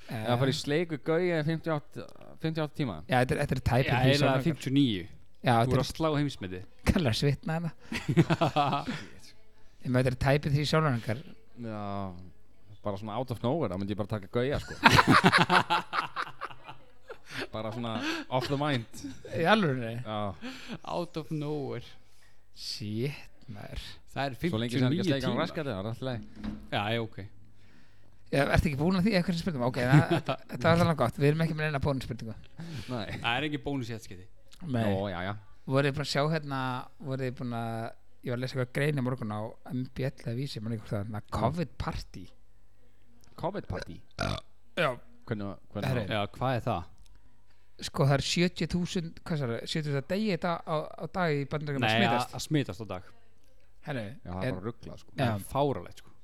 Speaker 4: eða
Speaker 2: eh,
Speaker 4: fara í sleiku gauja í 58, 58 tíma
Speaker 2: Já, þetta er, þetta er
Speaker 1: Já,
Speaker 2: tæpir þrír
Speaker 1: eiginlega
Speaker 2: sólarhringar.
Speaker 1: 59
Speaker 2: Já,
Speaker 1: Þú
Speaker 2: þetta
Speaker 1: er
Speaker 2: er
Speaker 1: að slá heimsmyndi
Speaker 2: kallar svitna hana Ég með þetta er tæpir því sólaringar
Speaker 4: Já, bara svona out of nowhere þá myndi ég bara taka gauja sko bara svona off the mind
Speaker 2: Í alvörunni
Speaker 4: Já,
Speaker 1: Out of nowhere
Speaker 2: Shit, maður
Speaker 1: Það er
Speaker 4: svo lengi sem það er
Speaker 1: 59
Speaker 4: ekki að sleika á
Speaker 1: tíma
Speaker 4: raskatið það er alltaf leið
Speaker 1: Já, já, ok
Speaker 2: Já, ertu ekki búin að því eitthvað spurningum? Ok, það, þetta var alveg gott, við erum ekki með neina bónusspurningu
Speaker 4: Nei
Speaker 1: Það er ekki bónus í þetta skiti
Speaker 4: Jó, já, já
Speaker 2: Voruð þið búin að sjá hérna, voruð þið búin að Ég var að lesa eitthvað grein í morgun á MBL eða vísi, mann ykkur það, hérna, COVID party
Speaker 4: COVID party
Speaker 2: Já
Speaker 4: Hvernig,
Speaker 2: Herri.
Speaker 4: hvernig
Speaker 1: Já, hvað er það?
Speaker 2: Sko það er 70.000, hvað sér það, 70.000 degi þetta á, á dag í bandaríkjum að
Speaker 1: Nei, að
Speaker 2: smitast
Speaker 1: að smitast á dag
Speaker 2: Herru,
Speaker 4: Já, það er
Speaker 2: er,
Speaker 4: bara rugglað sko
Speaker 2: Já.
Speaker 1: Það er fáralegt sko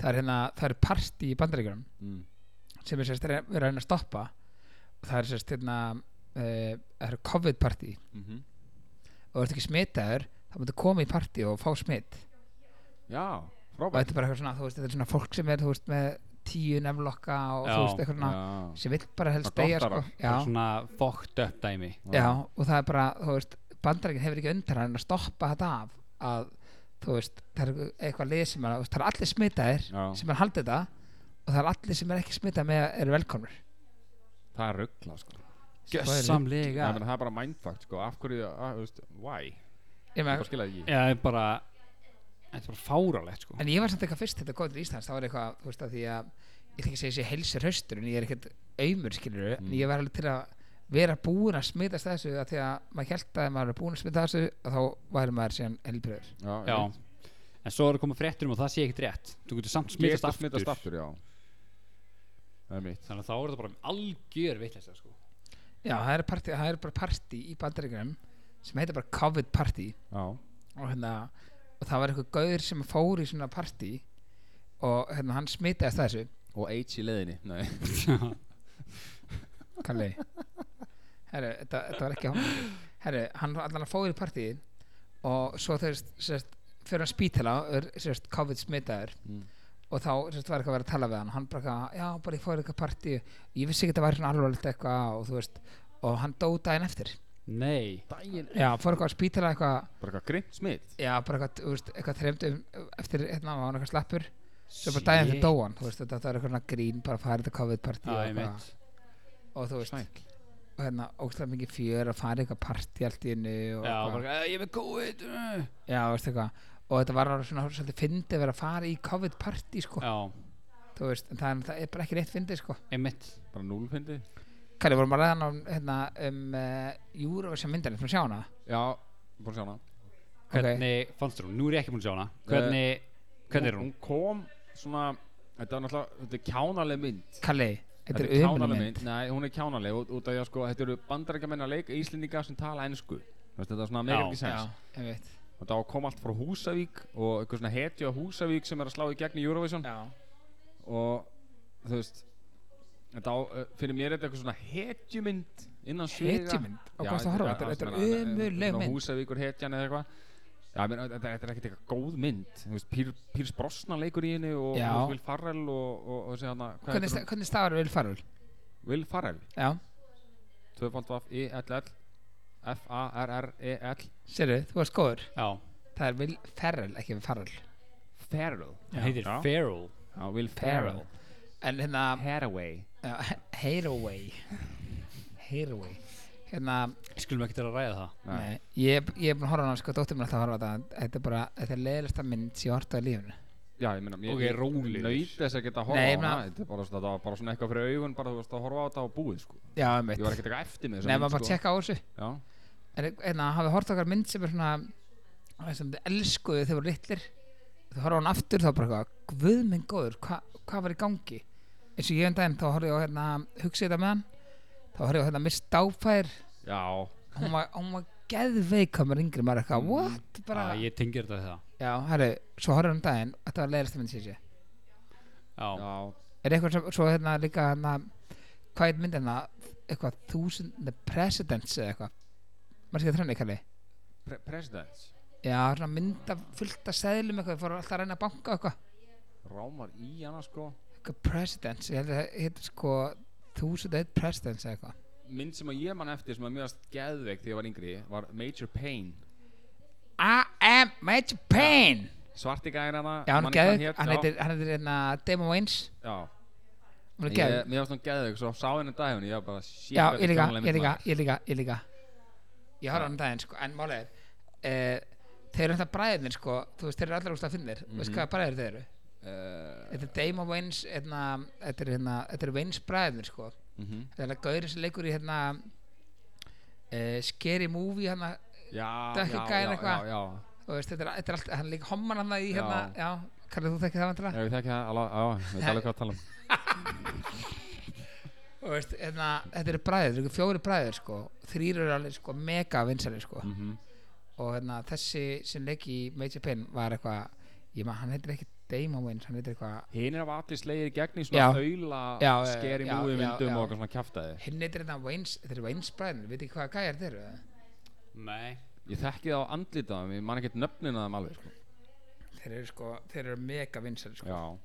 Speaker 2: það er hérna, það er party í bandaríkjum
Speaker 4: Mm.
Speaker 2: sem er sérst verið að reyna að stoppa og það er sérst hérna, uh, það er COVID party
Speaker 4: Mhm.
Speaker 2: og ertu ekki smitaður þá máttu koma í partí og fá smitt
Speaker 4: Já,
Speaker 2: og
Speaker 4: frábært
Speaker 2: þetta er bara eitthvað svona, þú veist, þetta er svona fólk sem er þú veist, með tíu nefnlokka og þú
Speaker 1: Já,
Speaker 2: veist, eitthvað svona
Speaker 4: Já.
Speaker 2: sem vill bara helst
Speaker 4: Það er
Speaker 2: deyja,
Speaker 4: gott
Speaker 2: sko
Speaker 4: bara.
Speaker 1: Það er
Speaker 2: já,
Speaker 1: svona fucked up dæmi
Speaker 2: já, og það er bara, þú veist bandarækinn hefur ekki undan hann að stoppa þetta af að, þú veist, það er eitthvað lið sem er, þú veist, það er allir smitaðir
Speaker 4: Já.
Speaker 2: sem er haldið þetta og það er allir sem er ekki smitaðir með eru velkomnir
Speaker 4: Það er rugglað sko Já,
Speaker 1: Gjössamlega
Speaker 4: menn, það er bara mindfuck sko, af hverju, að, þú veist, why?
Speaker 2: ég
Speaker 4: Ég bara
Speaker 2: með,
Speaker 4: skilja það ekki.
Speaker 1: Já, það er bara Þetta er bara fáralegt sko
Speaker 2: en ég var samt eitthvað fyrst þetta góð til Íslands, það var eitthvað, þú veist, að því að ég ætla ekki að segja sér heilsir höstur en ég er ekkert aumur, skilur
Speaker 1: Mm.
Speaker 2: en ég var alveg til að vera búin að smitast þessu að því að maður held að ef maður er búin að smitast þessu að þá væri maður síðan helbriður
Speaker 4: Já,
Speaker 1: Já En svo er að koma fréttur um og það sé ekkert rétt Þú getur samt smitast
Speaker 4: Smittast
Speaker 1: aftur
Speaker 4: aftur. Smittast aftur, já. Það er mitt.
Speaker 1: Þannig að þá er það bara algjör vitleisa sko
Speaker 2: Já, það er, partí, það er bara partí í bandaríkjum sem heitir bara COVID partí
Speaker 4: Já.
Speaker 2: og, hérna, og það var eitthvað gauður sem fór í svona partí og hérna, hann smitaðist þessu
Speaker 4: Og H í leiðinni. Nei.
Speaker 2: Kalli Herru, þetta, þetta var ekki hóma Herru, hann allan að fóður í partíin og svo þau sérst fyrir hann spítala og er sérst COVID smitaður
Speaker 4: Mm.
Speaker 2: og þá sérst var eitthvað að vera að tala við hann hann bara eitthvað, já, bara ég fóður eitthvað partí ég vissi ekki að það væri svona alvarlegt eitthvað og þú veist, og hann dó daginn eftir
Speaker 1: Nei
Speaker 4: Dægin.
Speaker 2: já, fór eitthvað að spítala eitthvað
Speaker 4: Bara eitthvað grint smitt.
Speaker 2: já, bara eitthvað, þú veist, eitthvað þreymdum eftir hérna, var hann eitthvað slappur svo bara daginn eftir
Speaker 1: Shit.
Speaker 2: dóan, þú veist, þetta var eitthvað svona grín bara að fara þetta COVID partí
Speaker 1: Já,
Speaker 2: og
Speaker 1: ég
Speaker 2: eitthvað.
Speaker 1: veit
Speaker 2: og þú veist,
Speaker 4: Sæl.
Speaker 2: og hérna ógstlega mikið fjör að fara í eitthvað partí allt í hennu og,
Speaker 1: Já,
Speaker 2: eitthvað.
Speaker 1: bara, ég er með COVID uh.
Speaker 2: já, veist eitthvað og þetta var alveg svona svolítið fyndið að vera að fara í COVID partí sko,
Speaker 1: Já,
Speaker 2: þú veist, en það, er- það er bara ekki rétt fyndið sko,
Speaker 1: einmitt
Speaker 4: Bara núlfindi.
Speaker 2: Kalli, vorum að ræða um, hérna, um uh, Eurovision myndarinn, fyrir að sjá hana
Speaker 4: Já, búin að sjá hana
Speaker 1: Hvernig fannst þú hún? Nú er ég ekki búin að sjá hana Hvernig, hvernig er Eh, hún?
Speaker 4: Hún kom svona Þetta er náttúrulega, þetta er kjánaleg mynd
Speaker 2: Kalli, þetta er
Speaker 4: kjánaleg
Speaker 2: ömuleg mynd
Speaker 4: Nei, hún er kjánaleg út, út af því að sko, þetta eru bandarækjamenn að leika Íslendinga sem tala ennsku Þetta er svona meira
Speaker 1: Já.
Speaker 4: ekki sens
Speaker 2: Já, ég veit
Speaker 4: Og það kom allt frá Húsavík og eitthvað svona hetju á Húsavík sem er að slá í gegn í Eurovision
Speaker 2: Já,
Speaker 4: og þú veist þetta á, uh, fyrir mér er þetta eitthvað svona hetjumynd innan sviga
Speaker 2: Hetjumynd? Á
Speaker 4: Já,
Speaker 2: hvað ertu að horfa?
Speaker 4: þetta
Speaker 2: Þetta er-
Speaker 4: svona- eh,
Speaker 2: þetta er ömurleg
Speaker 4: svona
Speaker 2: mynd.
Speaker 4: Húsavíkur hetjan eða eitthvað Já, menn, þetta, þetta er ekkert eitthvað góð mynd Þú veist, Pír, Pírs Brosna leikur í henni og,
Speaker 2: Já.
Speaker 4: og Will Farrell og, og, og segja hana hvað
Speaker 2: hvernig,
Speaker 4: heitir
Speaker 2: sta- hvernig stafar Will Farrell?
Speaker 4: hún? Will Farrell
Speaker 2: Já,
Speaker 4: 2.F-I-L-L F-A-R-R-E-L
Speaker 2: sérðu, þú varst góður
Speaker 1: Já,
Speaker 2: Það er Will Ferrell, ekki Will Farrell
Speaker 4: Farrell
Speaker 1: hann heitir
Speaker 4: Já.
Speaker 1: Feral
Speaker 4: Já, Will Farrell
Speaker 2: En hérna,
Speaker 4: Haraway
Speaker 2: Já, Hairway Hairway hérna,
Speaker 1: Skulum ekki til að ræða það
Speaker 2: nei, ég, ég er búin að horfa á hana sko, dóttir mér er alltaf að horfa á þetta þetta er bara, þetta er leiðilegsta mynd sem ég horfði á í lífinu
Speaker 4: Já, ég meina, ég,
Speaker 1: Ok,
Speaker 4: ég
Speaker 1: rólegur.
Speaker 4: naut þess að geta að horfa
Speaker 2: Nei,
Speaker 4: á
Speaker 2: ég
Speaker 4: hana
Speaker 2: meina-
Speaker 4: Þetta er bara, svona- þetta var bara svona eitthvað fyrir augun bara þú varst að horfa á þetta og búið sko
Speaker 2: já,
Speaker 4: Ég
Speaker 2: mitt,
Speaker 4: var ekkert eitthvað eftir með þessa sko.
Speaker 2: nei, maður bara tjekka á þessu
Speaker 4: Já,
Speaker 2: en hérna, hafið horfði á okkar mynd sem er svona það sem þið elskuðu þegar voru litlir þú horfa á hana aftur þá bara eitthvað, guð minn góður hva- hvað var í gangi eins og ég um daginn, þá horfði ég á hérna hugsið þetta með hann, þá horfði ég á hérna Miss Doubtfire,
Speaker 4: já,
Speaker 2: hún var, hún var geðveik hvað maður yngri maður er eitthvað, what bara,
Speaker 1: Mm. Já, Ég tengir þetta við það
Speaker 2: Já, herru, svo horfum við um daginn Þetta var leiðast að myndi sér sér
Speaker 1: Já,
Speaker 4: já
Speaker 2: Er eitthvað sem, svo hérna líka hérna Hvað er myndin hérna Eitthvað þúsund, the presidents eða eitthvað Maður sér þannig kalli
Speaker 4: Pre Presidents
Speaker 2: Já, hérna mynda fullt að seðlum eitthvað Ég fór alltaf að reyna að banka á eitthvað
Speaker 4: Rámar í hana sko
Speaker 2: Eitthvað presidents, ég held að það heitir sko Þúsund eitt presidents eða eitthvað
Speaker 4: Mynd sem að ég man eftir sem að mjög að geðveik þegar ég var yngri var Major Payne
Speaker 2: I am Major Payne
Speaker 4: Svarti gæðin hana
Speaker 2: Já, hann er
Speaker 4: man ekki hvað
Speaker 2: geðug, hann
Speaker 4: já,
Speaker 2: heitir, hann heitir hérna Damon Wayans
Speaker 4: Já,
Speaker 2: Hún er
Speaker 4: ég,
Speaker 2: geðug
Speaker 4: mér varst hann geðveik svo sá henni daginn Ég var bara, shit,
Speaker 2: Já, ég
Speaker 4: þetta er
Speaker 2: líka,
Speaker 4: gamla
Speaker 2: ég
Speaker 4: mynd,
Speaker 2: líka,
Speaker 4: maður.
Speaker 2: ég líka, ég líka Ég horf á hann daginn, sko, en málið er uh, Þeir eru alltaf bræðinir, sko Þú veist, þeir eru allra úrst að finnir Þú
Speaker 4: Mhm.
Speaker 2: veist hvaða bræðir þeir eru
Speaker 4: Eh,
Speaker 2: Þetta er Damon Wayans, hérna Þetta er, hérna, þetta er Wayans bræðinir, sko
Speaker 4: mhm.
Speaker 2: Þetta er hérna gaurið sem leikur í, hérna uh, Scary Movie, hérna
Speaker 4: Já, já,
Speaker 2: Dökki
Speaker 4: já,
Speaker 2: gæinn
Speaker 4: já,
Speaker 2: eitthvað.
Speaker 4: já
Speaker 2: Þú veist, þetta er, þetta er alltaf, hann leik homman hann í, hérna
Speaker 4: Já.
Speaker 2: Já, kallar þú þekki það vandala?
Speaker 4: Ég veit ekki það, alveg, já, ég veit alveg hvað að tala um
Speaker 2: Þú veist, hérna, þetta eru bræðir, þetta eru fjóri bræðir, sko Þrýr eru alveg, sko, mega vinsælir, sko
Speaker 4: Mhm.
Speaker 2: og hérna, þessi sem leik í Major Payne var eitthvað ég maður, hann heitir ekki Damon Wayans hann heitir eitthvað
Speaker 4: Hinn er af allir slegir í gegn í
Speaker 2: Já.
Speaker 4: svona auðla
Speaker 2: Já, já,
Speaker 4: skeri
Speaker 2: já,
Speaker 4: múi
Speaker 2: já,
Speaker 4: myndum
Speaker 2: já.
Speaker 4: og eitthvað svona kjaftaði
Speaker 2: hinn heitir þetta Wayans þeir eru Wayans bræðin við ekki hvaða gæjar þeir eru eða?
Speaker 1: nei
Speaker 4: Ég þekki það á andlitaðum, ég man ekkert nöfnin að þeim alveg sko.
Speaker 2: þeir eru sko þeir eru mega vinsar sko
Speaker 4: Já,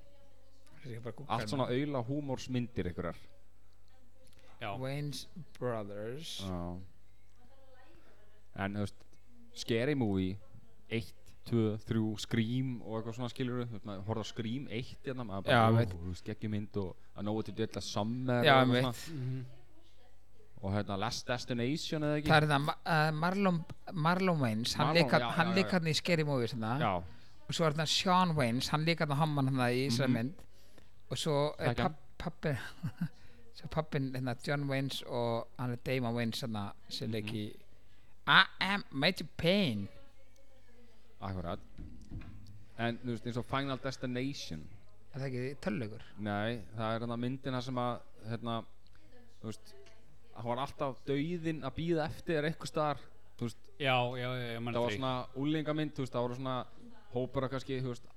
Speaker 2: Þessi ég bara googla
Speaker 4: allt
Speaker 2: hérna.
Speaker 4: svona auðla húmórsmyndir einhverjar
Speaker 1: Já,
Speaker 2: Wayans Brothers
Speaker 4: Já En, þú veist, skeri múi 1, 2, 3, skrím og eitthvað svona skilur við, maður horfði á skrím 1 hérna, maður
Speaker 2: Já,
Speaker 4: bara,
Speaker 2: veit.
Speaker 4: ó, skeggjumynd og að nógu til djölla summer
Speaker 2: Já,
Speaker 4: og eitthvað
Speaker 2: veit.
Speaker 4: svona. og hérna Last Destination eða ekki
Speaker 2: það er það uh, Marlon, Marlon Wayans hann
Speaker 4: Marlon,
Speaker 2: leik hann-
Speaker 4: já,
Speaker 2: hann
Speaker 4: já,
Speaker 2: leik
Speaker 4: já.
Speaker 2: hann í Scary Movie svona.
Speaker 4: Já,
Speaker 2: og svo er það Sean Wayans hann leik hann á hamman hann í Ísra
Speaker 4: Mhm.
Speaker 2: mynd og svo er
Speaker 4: Þekki hann.
Speaker 2: papp, pappin svo pappin hérna, John Wayans og hann er Damon Wayans hérna, sem
Speaker 4: Mhm.
Speaker 2: leik í I am Major Payne
Speaker 4: akkurat En, þú veist, eins og Final Destination
Speaker 2: er það ekki tölugur
Speaker 4: Nei, það er hérna myndina sem að hérna, þú veist hann var alltaf dauðinn að býða eftir eitthvað staðar, þú veist,
Speaker 1: já, já, já, ég
Speaker 4: það
Speaker 1: manna
Speaker 4: var
Speaker 1: því
Speaker 4: svona úlingamynd, þú veist, það voru svona hópur að kannski, þú veist,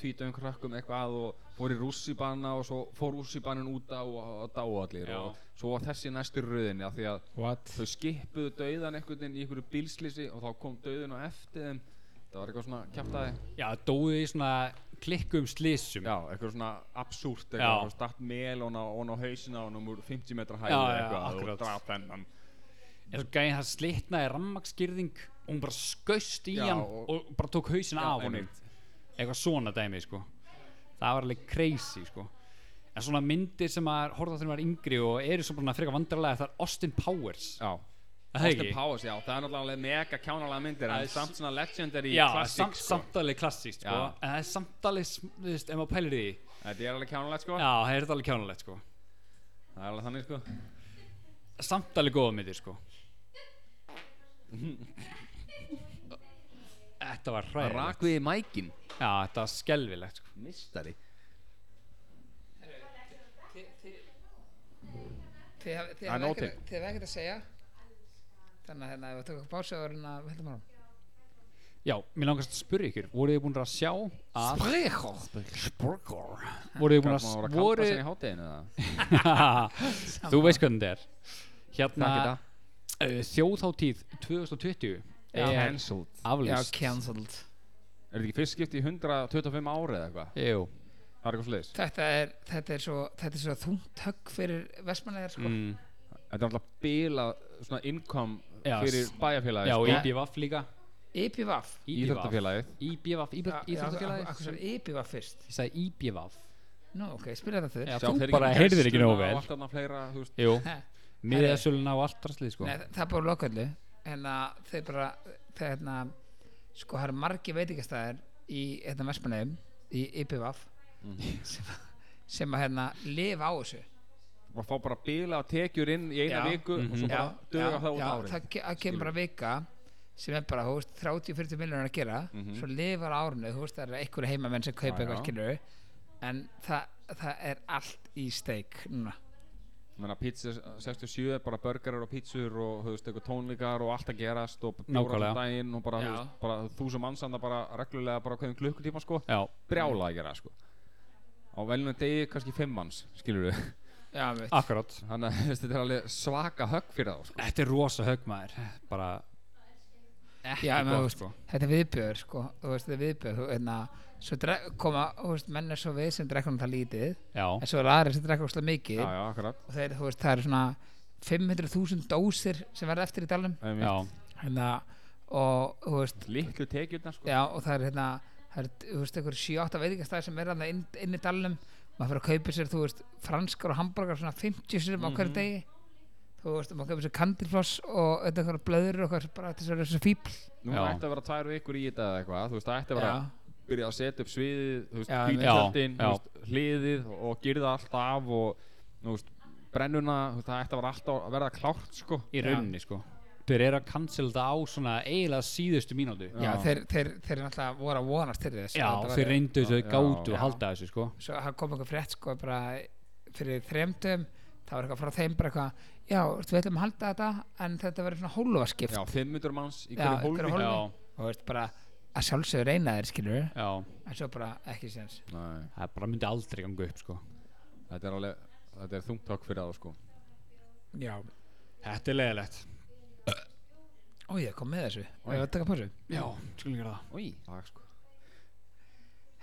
Speaker 4: tvítum krökkum eitthvað að og fór í rússibanna og svo fór rússibannin út á og, og dá allir
Speaker 1: Já.
Speaker 4: og svo var þessi næstur röðinni af því að
Speaker 2: what
Speaker 4: þau skipuðu dauðan einhvern veginn í einhverju bílslýsi og þá kom dauðin á eftir þeim það var eitthvað svona kjaftaði
Speaker 1: Já, dóðu í svona klikkum slissum
Speaker 4: Já, eitthvað svona absúrt
Speaker 1: Já.
Speaker 4: eitthvað, eitthvað datt melóna og hann á hausina og hann úr 50 metra hæð
Speaker 1: Já,
Speaker 4: eða
Speaker 1: já,
Speaker 4: eitthvað og
Speaker 1: akkurat.
Speaker 4: draf þennan
Speaker 1: En svo gæði það slitnaði rammaksgirðing og hún bara skaust í
Speaker 4: Já,
Speaker 1: hann
Speaker 4: og-
Speaker 1: og, bara tók hausin af honum
Speaker 4: einmitt.
Speaker 1: eitthvað svona dæmi sko það var alveg crazy sko en svona myndir sem maður horfði á þegar maður er yngri og eru svona frekar vandrarlega það er Austin Powers
Speaker 4: Já,
Speaker 1: Er það
Speaker 4: Austin
Speaker 1: ekki?
Speaker 4: Powers, já, það er náttúrulega mega kjánalega myndir
Speaker 1: Það
Speaker 4: en
Speaker 1: er
Speaker 4: samt svona legendary
Speaker 1: Já,
Speaker 4: classic
Speaker 1: samt,
Speaker 4: sko.
Speaker 1: samt alveg klassíkt sko
Speaker 4: Já.
Speaker 1: en það er samt alveg, sm- þú veist, ef maður pælir í því
Speaker 4: Þetta er alveg kjánalegt sko
Speaker 1: já, það er þetta alveg kjánulegt sko
Speaker 4: Það er alveg þannig sko
Speaker 1: samt alveg góða myndir sko Þetta var hræðilegt
Speaker 4: Rakviði mækin
Speaker 1: Já, þetta var skelfilegt sko.
Speaker 4: Mistari
Speaker 2: Þið hafið þið
Speaker 4: Það er
Speaker 2: hafið
Speaker 4: nótin.
Speaker 2: ekkert þið hafið ekkert að segja Þannig að hérna, ef við tökum bársöðurinn að heldum árum
Speaker 1: Já, mér langast að spyrja ykkur Voruð þið búin að sjá að
Speaker 2: Sprekor
Speaker 1: Spurgur Voruð þið búin
Speaker 4: Hvað
Speaker 1: að
Speaker 4: maður voru að kampa sig í
Speaker 1: voru...
Speaker 4: hátæðinu það?
Speaker 1: Þú veist hvernig þetta er Hérna
Speaker 4: Takk þetta
Speaker 1: uh, Þjóðháttíð 2020
Speaker 2: Já.
Speaker 1: er
Speaker 4: Cancelled
Speaker 2: Já,
Speaker 1: aflýst
Speaker 2: cancelled
Speaker 4: Er þetta ekki fyrst skipt í 125 ári eða eitthvað?
Speaker 1: Jú
Speaker 4: Það er eitthvað sliðis
Speaker 2: Þetta er, þetta er svo, þetta er svo þungt högg fyrir vestmannegar sko
Speaker 1: mm.
Speaker 4: Þetta er alltaf bila svona income
Speaker 1: Já,
Speaker 4: fyrir
Speaker 1: s-
Speaker 4: bæjarfélagi
Speaker 1: Já, og
Speaker 4: sko.
Speaker 1: IBVF líka
Speaker 2: IPVAF
Speaker 4: Íþróttafélagið
Speaker 1: IBVF
Speaker 2: Akkur
Speaker 1: Íþjóttafélagið
Speaker 2: sér IPVAF fyrst
Speaker 1: Ég sagði IBVF
Speaker 2: Nú, ok, spila þetta þurr
Speaker 1: Já,
Speaker 4: Sjá
Speaker 1: þú
Speaker 4: þeir
Speaker 1: bara
Speaker 4: um
Speaker 1: heyrðir
Speaker 4: gestuna
Speaker 1: ekki nógu
Speaker 4: og
Speaker 1: vel.
Speaker 4: allt annað fleira, þú veist.
Speaker 1: Jú
Speaker 2: Herri.
Speaker 1: Miðasöluna og allt rastlið sko
Speaker 2: Nei, það er bara loköllu en að þeir bara þeir hérna sko það eru margi veitingastæðir í hérna Vestmanneum í IPVAF
Speaker 4: Mhm.
Speaker 2: sem, sem að hérna lifa á þessu
Speaker 4: Bara fá bara bila og tekjur inn í eina
Speaker 2: Já.
Speaker 4: viku og svo
Speaker 1: Mhm.
Speaker 4: bara döga það út
Speaker 2: já,
Speaker 4: árið
Speaker 2: það, ke- það kemur bara vika sem er bara, þú veist, 30-40 miljonar að gera svo lifar á árinu, þú veist, það eru einhverju heimamenn sem kaupa
Speaker 4: Mhm. Já,
Speaker 2: eitthvað
Speaker 4: já.
Speaker 2: skilur en það, það er allt í steik núna,
Speaker 4: Menna pizza 67 er bara börgarar og pizzur og þú veist, eitthvað tónleikar og allt að gerast og bjóra
Speaker 1: Nákvæmlega.
Speaker 4: á daginn og bara, þú
Speaker 2: Já.
Speaker 4: veist, bara þúsum mannsanda bara reglulega bara hverjum klukkutíma sko
Speaker 1: Já
Speaker 4: brjála að gera sko á velnum degi kannski fimm manns skilur við
Speaker 2: já, mitt
Speaker 1: Akkurát
Speaker 4: þannig að þú veist, þetta er alveg svaka högg fyrir þá sko.
Speaker 1: Þetta er rosa högmaður Bara
Speaker 2: já,
Speaker 1: gott,
Speaker 2: menn, þú veist,
Speaker 1: sko.
Speaker 2: þetta er viðbjör sko, þú veist, þetta er viðbjör þú, hérna, svo dre- koma, þú veist, menn er svo við sem drekkunum það lítið
Speaker 1: Já
Speaker 2: en svo er aðri sem drekkunum það mikið
Speaker 4: já já akkurat
Speaker 2: og þeir, þú veist, það eru svona 500.000 dósir sem verða eftir í dalnum
Speaker 1: Já
Speaker 2: hérna, og, þú veist,
Speaker 4: litlu tekjurna sko
Speaker 2: Já, og það er hérna það er, þú veist, einhver 7-8 veitingastæð sem er hérna inn, inn í dalnum maður fyrir að kaupa sér, þú veist, franskar og hambúrgar svona 50 sér á
Speaker 1: Mhm.
Speaker 2: hverju degi þú veist, maður kaupa sér kandilfloss og þetta einhverja blöður og eitthvað bara þessar þessu fíbl
Speaker 4: nú
Speaker 1: Já.
Speaker 4: ætti að vera tvær vikur í þetta eða eitthvað þú veist það ætti að vera
Speaker 2: Já.
Speaker 4: að byrja að setja upp sviðið þú veist
Speaker 2: Já, einmitt.
Speaker 4: bíljöldin
Speaker 1: Já, já.
Speaker 4: hliðið og gyrða allt af og þú veist brennuna þú veist, það ætti að vera alltaf að verða klárt sko
Speaker 1: Í rauninni sko Þeir eru að cancel það á svona eiginlega síðustu mínútu
Speaker 2: já, þeir, þeir, þeir náttúrulega voru að vonast til þess
Speaker 1: Já,
Speaker 2: Þetta var-
Speaker 1: þeir reyndu þessu
Speaker 4: Já,
Speaker 1: gátu
Speaker 2: já.
Speaker 1: að halda þessu sko
Speaker 2: svo það kom eitthvað frétt sko bara fyrir þremdum það var eitthvað frá þeim bara eitthvað já, þú veist, við ætlum að halda þetta en þetta verður svona hólfaskipt
Speaker 4: já 500 manns í
Speaker 2: Já,
Speaker 4: hverju
Speaker 2: í hverju hólfi.
Speaker 4: hólfi
Speaker 1: Já,
Speaker 2: og þú veist, bara að sjálfsögur reyna þeir skilur
Speaker 1: já
Speaker 2: en svo bara ekki séns
Speaker 4: Nei,
Speaker 1: Það bara myndi aldrei ganga upp sko
Speaker 4: þetta er alveg þetta er þungt högg fyrir þá sko
Speaker 2: já,
Speaker 1: Þetta er leðilegt
Speaker 2: Ó, ég kom með þessu. Og ég var að taka pásu.
Speaker 1: Já, skulum gera það
Speaker 4: Í, það sko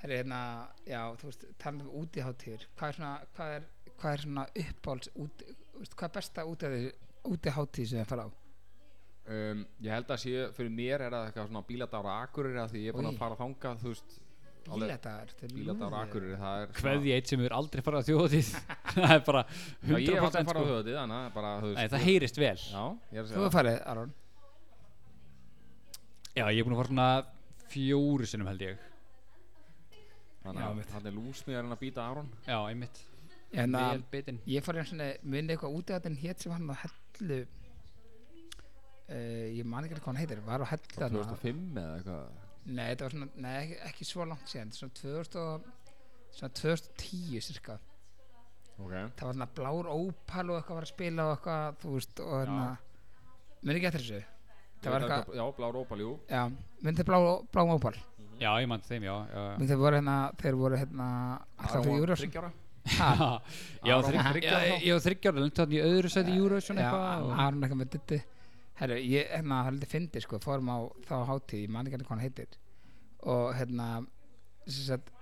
Speaker 2: Herri, hérna, já, þú veist, talað um útiháttíður. Hvað er svona, hvað er, hvað er svona uppáhalds út, þú veist, hvað er besta útiháttíð, útiháttíð sem þið fara á?
Speaker 4: Um, ég held að sé, fyrir mér er það eitthvað svona bíladára akureyri að því ég er búin
Speaker 2: Oj.
Speaker 4: að fara þangað, þú veist alveg-
Speaker 2: Bíladagar, þetta er
Speaker 4: Bíladára
Speaker 2: lúður.
Speaker 4: akureyri, það er
Speaker 1: Kveðja eitt sem er aldrei farið á þjóðatíð Það er bara
Speaker 4: Já, ég
Speaker 1: 100%
Speaker 4: er alltaf farað á
Speaker 1: sko
Speaker 4: höfuðið, þannig að bara, þú veist
Speaker 1: Nei, það heyrist vel
Speaker 4: Já, ég er að
Speaker 2: Þú
Speaker 4: segja
Speaker 2: hefur farið, Aron.
Speaker 1: Já, ég er búin að fara svona fjóru sinnum held ég
Speaker 4: Þannig
Speaker 2: Já,
Speaker 4: að
Speaker 2: mitt.
Speaker 4: hann er lúsmiðarinn að býta Aron
Speaker 1: Já, einmitt
Speaker 2: En
Speaker 1: Vel
Speaker 2: að,
Speaker 1: bitinn
Speaker 2: ég farið eins og minni eitthvað útiháttíðin hétt sem var hann á hellu, uh, ég man ekki hvað hann heitir, var á hellu þarna.
Speaker 4: 2005 eða eitthvað
Speaker 2: Nei, þetta var svona, nei, ekki, ekki svo langt síðan, svona 2000 og, svona 2010 cirka.
Speaker 4: Ok
Speaker 2: það var svona blár ópal og eitthvað var að spila og eitthvað, þú veist, og hérna minn ekki eftir þessu það var eitthvað,
Speaker 4: Já, blá rópa ljú
Speaker 2: já, minn þeir blár, blár ópal
Speaker 1: Já, ég mann þeim, já, já, já.
Speaker 2: minn þeir voru hérna, þeir voru hérna alltaf fyrir Júrásson
Speaker 4: Þryggjára
Speaker 1: Já,
Speaker 4: Aron var
Speaker 1: þrygg-
Speaker 4: þriggja
Speaker 1: já,
Speaker 4: ára
Speaker 1: ég var þryggjára lengt þannig í öðru sæti í Eurovision
Speaker 2: já,
Speaker 1: eitthvað og-
Speaker 2: Aron eitthvað með dytti herru, ég, hérna, það er litið fyndi sko, fórum á þá hátíð, ég man ekki hérna hvað hann heitir og hérna sem sagt,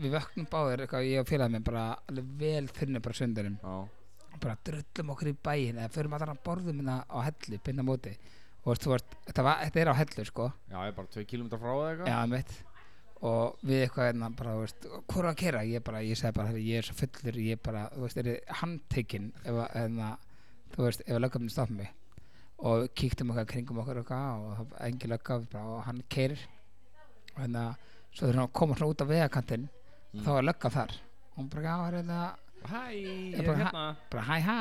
Speaker 2: við vöknum báðir eitthvað, ég og félagið minn bara alveg vel þunni bara sundunum
Speaker 4: Já,
Speaker 2: bara drullum okkur í bæinn eða förum allan að borðum hérna á hellu pinna móti og veist, þú veist, þetta, var, þetta er á hellu sko
Speaker 4: já, ég er bara 2 km frá eða eitthvað
Speaker 2: já, mitt og við eitthvað hérna bara, þú veist, hvað er að kera ég bara, ég segi bara, "Herri, ég er svo fullur ég bara, þú veist, er handtekinn ef að, hérna, þú veist, ef að löggafnir stoppa mig og við kíktum okkar kringum okkur og eitthvað og það var engin löggaf bara, og hann kerir og hérna, svo þegar hann kom svona út á vegarkantinn þá var löggaf þar og hún bara, já, hérna
Speaker 4: Hæ, ég
Speaker 2: Ég
Speaker 4: er
Speaker 2: bara,
Speaker 4: hérna
Speaker 2: bara hæ hæ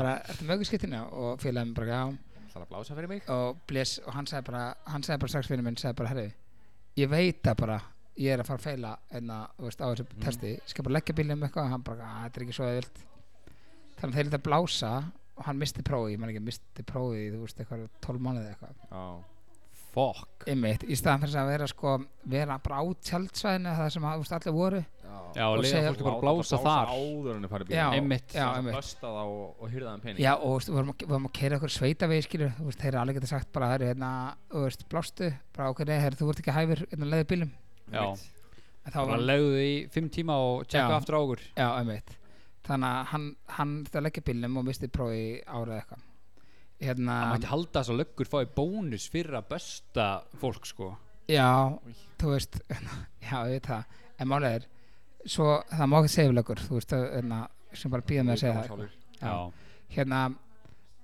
Speaker 2: bara eftir mögurskiptinu og félagum bara já
Speaker 4: Það er að blása fyrir mig
Speaker 2: og bless og hann sagði bara hann sagði bara strax fyrir minn sagði bara herri ég veit að bara ég er að fara að feila enna þú veist á þessu testi ég skal bara leggja bílum eitthvað og hann bara "Ah, þetta er ekki svo eðvilt þannig að þeir lítið að blása og hann misti prófið ég menn ekki misti prófið í, þú veist eitthvað 12 mánuði eða eitthvað
Speaker 4: Já,
Speaker 1: Fuck
Speaker 2: einmitt í staðan fyrir að vera sko vera bara á tjaldsvæðinu það sem að, þú veist allir voru
Speaker 1: Já,
Speaker 2: Og
Speaker 1: leiða
Speaker 2: segja-
Speaker 1: fólki bara að blása þar
Speaker 4: Áður en þau farið
Speaker 2: já
Speaker 4: bíl
Speaker 1: Einmitt.
Speaker 2: já,
Speaker 4: Það
Speaker 2: einmitt
Speaker 4: bösta þá og, um og hyrða þeim pening
Speaker 2: Já, og veist, við vorum, að- við vorum að keira okkur sveitavegi, skilur, þú veist, þeir eru alveg getið sagt bara, það eru hérna, þú veist, blástu, bara okkur, nei, herri, þú ert ekki hæfur, hérna, leiði bílum.
Speaker 1: Já,
Speaker 2: En
Speaker 1: bara
Speaker 2: þá var,
Speaker 1: leiðu í fimm tíma og
Speaker 2: Já.
Speaker 1: tjekka aftur á okkur
Speaker 2: já, einmitt. Þannig að hann, hann þurfti að leggja bílum og misti prófi árað eitthvað. Hérna,
Speaker 1: Það mætti halda þess að löggur fái bónus fyrir að bösta fólk sko
Speaker 2: já,
Speaker 4: Új.
Speaker 2: þú veist, já, ég veit það, en málega er, svo, það má ekki segja við lögur, þú veist, hérna, sem bara býða með að segja það. Já. hérna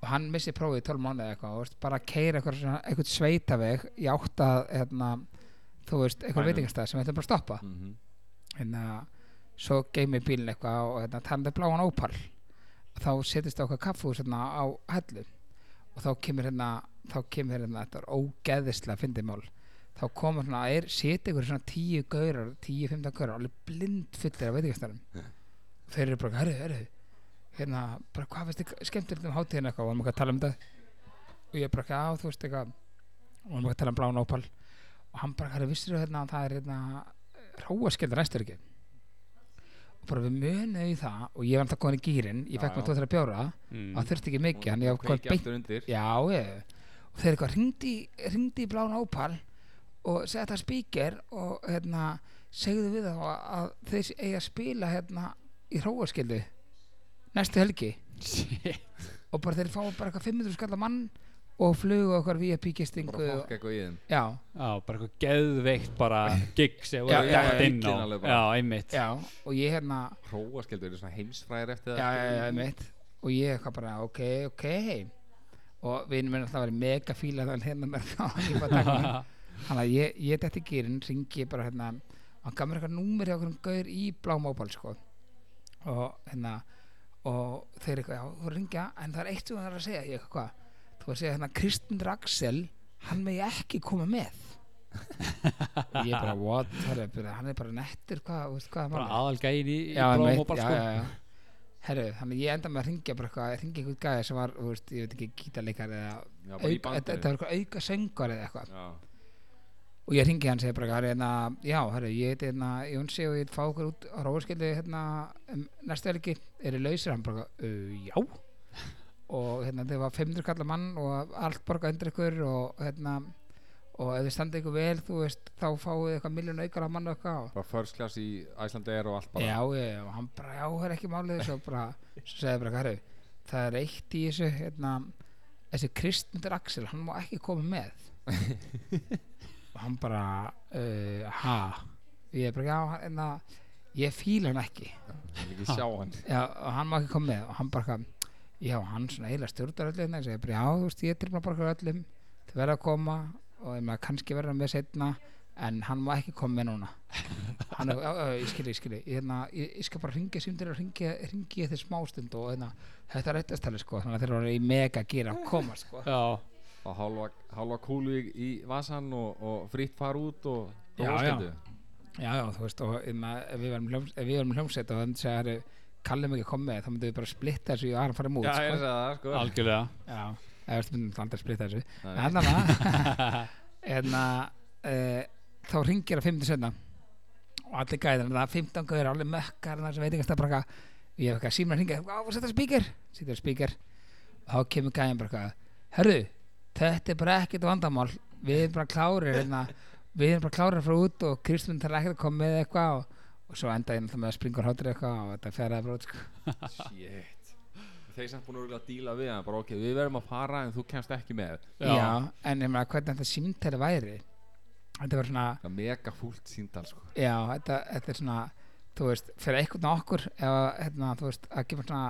Speaker 2: og hann missi prófið í 12 mánuði eða eitthvað þú veist, bara keira eitthvað, svona- eitthvað sveitaveg í átt að hérna, þú veist, eitthvað
Speaker 4: Bænum.
Speaker 2: veitingastæð sem ætla bara að stoppa
Speaker 4: mm
Speaker 2: hérna, svo geymi bílinn eitthvað og hérna, talaði bláan ópal þá setist okkar kaffús hérna, á hellu og þá kemur hérna þá kemur hérna, þetta er ógeðislega fyndið mál, þá komur svona er, seti ykkur svona 10 gaurar 10-15 gaurar, alveg blind fullir af veitingastæðum þeir eru bara, herru, herru hérna, bara hvað finnst þið skemmtilegt um hátíðin eitthvað, varum ekki að tala um þetta og ég bara, já, þú veist eitthvað varum ekki að tala um bláan ópal og hann bara, herru, vissir þau hérna að það er hérna hróaskeld ræstur ekki og bara við munum í það og ég var alltaf komin í gýrin, ég
Speaker 4: Já,
Speaker 2: fekk
Speaker 4: já.
Speaker 2: mér tóð þeirra bjóra
Speaker 1: Mm.
Speaker 2: það þurfti ekki mikið, hann ég var komin
Speaker 4: Kveiki
Speaker 2: beint
Speaker 4: aftur undir
Speaker 2: Já, ég og þeir eitthvað ringdi, ringdi í blána ópal og segja þetta spíker og hérna, segðu við þá að, að þeir eigi að spila hérna í hróaskildu næstu helgi
Speaker 1: Shit.
Speaker 2: og bara þeir fá bara eitthvað 500 skalla mann og flugu okkar VIP gistingu
Speaker 4: Bara
Speaker 2: og,
Speaker 4: fokka eitthvað í þeim
Speaker 2: já,
Speaker 1: Já, bara eitthvað geðveikt bara gig sem
Speaker 2: Já,
Speaker 1: voru
Speaker 2: já,
Speaker 1: lagt inn
Speaker 4: já,
Speaker 1: á
Speaker 4: giginn alveg bara.
Speaker 1: Já, einmitt
Speaker 2: já, og ég hérna
Speaker 4: Hróaskeldur eru svona heimsfræðir eftir
Speaker 2: já,
Speaker 4: það
Speaker 2: já, já,
Speaker 4: skilur við.
Speaker 2: einmitt og ég eitthvað bara, ok, ok og vinur minn alltaf að vera mega fíla þannig hérna með þá ég bara taka hann. þannig að ég, ég dætti gýrin ringi bara hérna hann gaf mér eitthvað númer hjá okkur um gaur í blámóbal sko og hérna og þeir eitthvað, já, þú ringja en það er eitt sem það er að segja, ég eitthvað hvað þú var að segja hérna, Kristinn Raxel hann megi ekki koma með og ég bara, what herri, bara, hann er bara nettur, hvað, veist hvað er
Speaker 1: Bara
Speaker 2: málið?
Speaker 1: aðalgæin í, í
Speaker 2: já,
Speaker 1: blóm
Speaker 2: einmitt,
Speaker 1: og bara
Speaker 2: já, já,
Speaker 1: sko
Speaker 2: já. Herru, þannig að ég enda með að ringja bara eitthvað, ég ringi einhvern gæði sem var, þú veist, ég veit ekki, gítarleikar eða
Speaker 4: Já, bara í
Speaker 2: auka, þetta þetta
Speaker 4: bandinu
Speaker 2: var eitthvað auka söngar eða eitthvað
Speaker 4: Já,
Speaker 2: og ég ringi hann segir bara, herru, hérna, já, herru, ég heiti hérna Jónsi og ég vil fá okkur út á Róðskildu hérna um, næstu helgi, eru lausir hann bara, uh, já og hérna þau var 500 kallar mann og allt borga undir ykkur og hérna og ef þið standa ykkur vel, þú veist, þá fáið þið eitthvað miljón aukar á mann og eitthvað og
Speaker 4: bara first class í Æslandi er og allt bara
Speaker 2: já, já, já, og hann bara, já, það er ekki málið svo bara, svo segði bara, hæru það er eitt í þessu, hérna þessi Kristmundur Axel, hann má ekki koma með og hann bara uh, ha ég er bara, já, hann- hérna ég fíla hann ekki,
Speaker 4: Ég vil ekki sjá hann
Speaker 2: já, og hann má ekki koma með og hann bara, eitthvað, já, hann svona eiginlega stjórnar öllum, ég segi bara, já, þú veist, ég er tilbúin að borga öllum, þau verða að koma og ég maður kannski verða með setna en hann má ekki koma með núna hann er, já, já, ég skilji, ég skilji ég, hérna, ég, ég skal bara ringja símdur og ringja, ringja þér smástund og hérna, þetta er réttastæli sko, þannig að þeir eru í mega gýra að koma sko
Speaker 1: Já,
Speaker 4: Og hálfa, hálfa kúlu í, í vasan og, og fritt far út og
Speaker 2: Já, já.
Speaker 4: hróaskeldu.
Speaker 2: já, já, þú veist, og hérna, ef við verðum hljóms, ef við verðum hljómsett og þannig að kallum ekki að koma með, þá myndum við bara splitta þessu í aðra fara
Speaker 4: Já,
Speaker 2: mút
Speaker 4: ég er að
Speaker 2: sko.
Speaker 4: segja það sko
Speaker 1: algjörlega
Speaker 2: já, eða við myndum aldrei að splitta þessu
Speaker 4: Nei, nei.
Speaker 2: Þannig að hérna, uh, þá ringir að 15 senna og allir gæðir það er 15 gauður, allir mökkar þar sem veitingast að braka ég hef eitthvað símur að ringa, á, setja spíker setja spíker og þá kemur gæðin bara eitthvað herru, þetta er bara ekkert vandamál við erum bara klárir hérna, við erum bara klárir frá út og Kristmund þarf ekkert að koma með eitthvað og, og svo enda ég náttúrulega með að springa og hátur eitthvað og þetta fer að brot sko.
Speaker 4: Shit Þeir samt búin örugglega að díla við hann bara ok, við verðum að fara en þú kemst ekki með
Speaker 1: Já.
Speaker 2: já. en ég meina hvernig þetta símtæli væri þetta var svona
Speaker 4: Það er mega fúlt síndal sko
Speaker 2: Já, þetta, þetta er svona þú veist, fyrir einhvern af okkur eða, hérna, þú veist, að gefa svona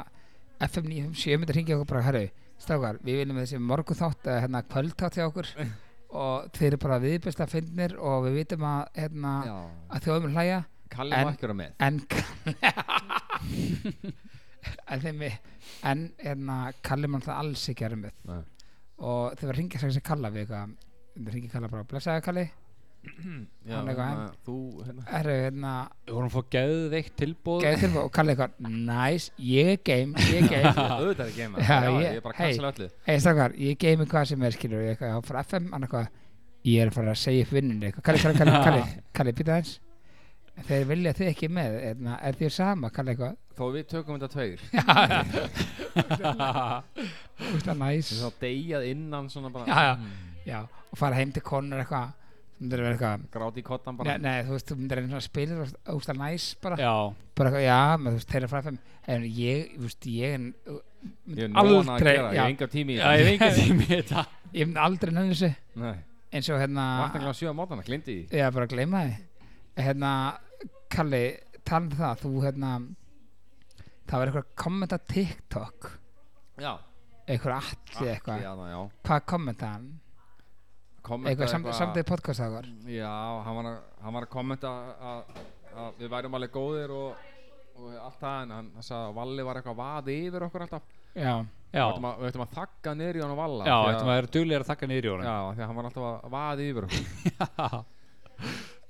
Speaker 2: FM 957 myndir hringja okkur bara, herru strákar, við viljum þessi morgun þátt eða hérna kvöldtátt hjá okkur og þeir eru bara viðbesta fyndnir og við vitum að, hérna,
Speaker 4: Já
Speaker 2: að þjóðum hlæja
Speaker 4: Kalli
Speaker 2: En-
Speaker 4: má ekki vera með
Speaker 2: en en þeim við en hérna, Kalli mann alltaf alls ekki erum við
Speaker 4: Nei.
Speaker 2: og þegar ringið sér sér Kalla við eitthvað þegar ringið Kalla bara blessaði Kalli
Speaker 4: Já,
Speaker 2: Hann er eitthvað,
Speaker 4: hérna, þú, hérna
Speaker 2: er hérna
Speaker 1: Við vorum að fá geðveikt tilbúð
Speaker 2: geðið tilbúið og Kalli eitthvað næs, ég er game, ég er game
Speaker 4: Auðvitað er ekki eina
Speaker 2: Já,
Speaker 4: Já,
Speaker 2: ég-
Speaker 4: ég er bara að
Speaker 2: hey.
Speaker 4: cancela öllu
Speaker 2: Hei stakkar, ég geymi hvað sem er skilur ég eitthvað, ég á frá FM, hann eitthvað ég er að fara að segja upp vinnunni eitthvað, Kalli, Kalli, Kalli, Kalli, Kalli, býta eins þeir vilja þið ekki með, eðna, er þér sama Kalli eitthvað,
Speaker 4: Þó við tökum þetta tveir
Speaker 2: úrst að næs
Speaker 4: Þá deyjað innan svona
Speaker 2: já,
Speaker 4: bara
Speaker 2: já, já, og fara heim til konur eitthvað, þú myndir að vera eitthvað
Speaker 4: Gráti í kottan bara
Speaker 2: Nei, nei, þú veist, þú myndir einhvern veginn að spila úrst að næs bara,
Speaker 1: Já,
Speaker 2: bara eitthvað, já, maður, þú veist, þeir eru frá FM en ég, þú veist, ég en,
Speaker 4: Ég
Speaker 2: myndi
Speaker 4: er nóg annað að
Speaker 2: aldrei,
Speaker 4: gera, ég
Speaker 2: já,
Speaker 4: hef engar tími í
Speaker 1: já
Speaker 4: þetta.
Speaker 1: ég hef engan tími í þetta
Speaker 2: ég myndi aldrei nefnir þessu
Speaker 4: Nei,
Speaker 2: eins og hérna
Speaker 4: vakna ekki á sjö á mótana, glindi því
Speaker 2: Já, bara gleyma því Hérna, Kalli, talandi um það Þú, hérna Það var eitthvað að kommenta á TikTok
Speaker 4: Já,
Speaker 2: Eitthvað allir eitthvað
Speaker 4: já, já
Speaker 2: Hvað kommenta hann?
Speaker 4: Kommenta
Speaker 2: Eitthvað samt, samtidig podcast það var
Speaker 4: Já, hann var, að, hann var að kommenta að, að við værum alveg góðir og, og allt það en hann sagði að Valli var eitthvað vaði yfir okkur alltaf
Speaker 2: Já,
Speaker 1: Já,
Speaker 4: Við ættum að, við ættum að þakka niður í hann og Valla
Speaker 1: já
Speaker 4: því
Speaker 1: þetta maður er duglegar að þakka niður í honum
Speaker 4: Já, af því að hann var alltaf að vaði yfir okkur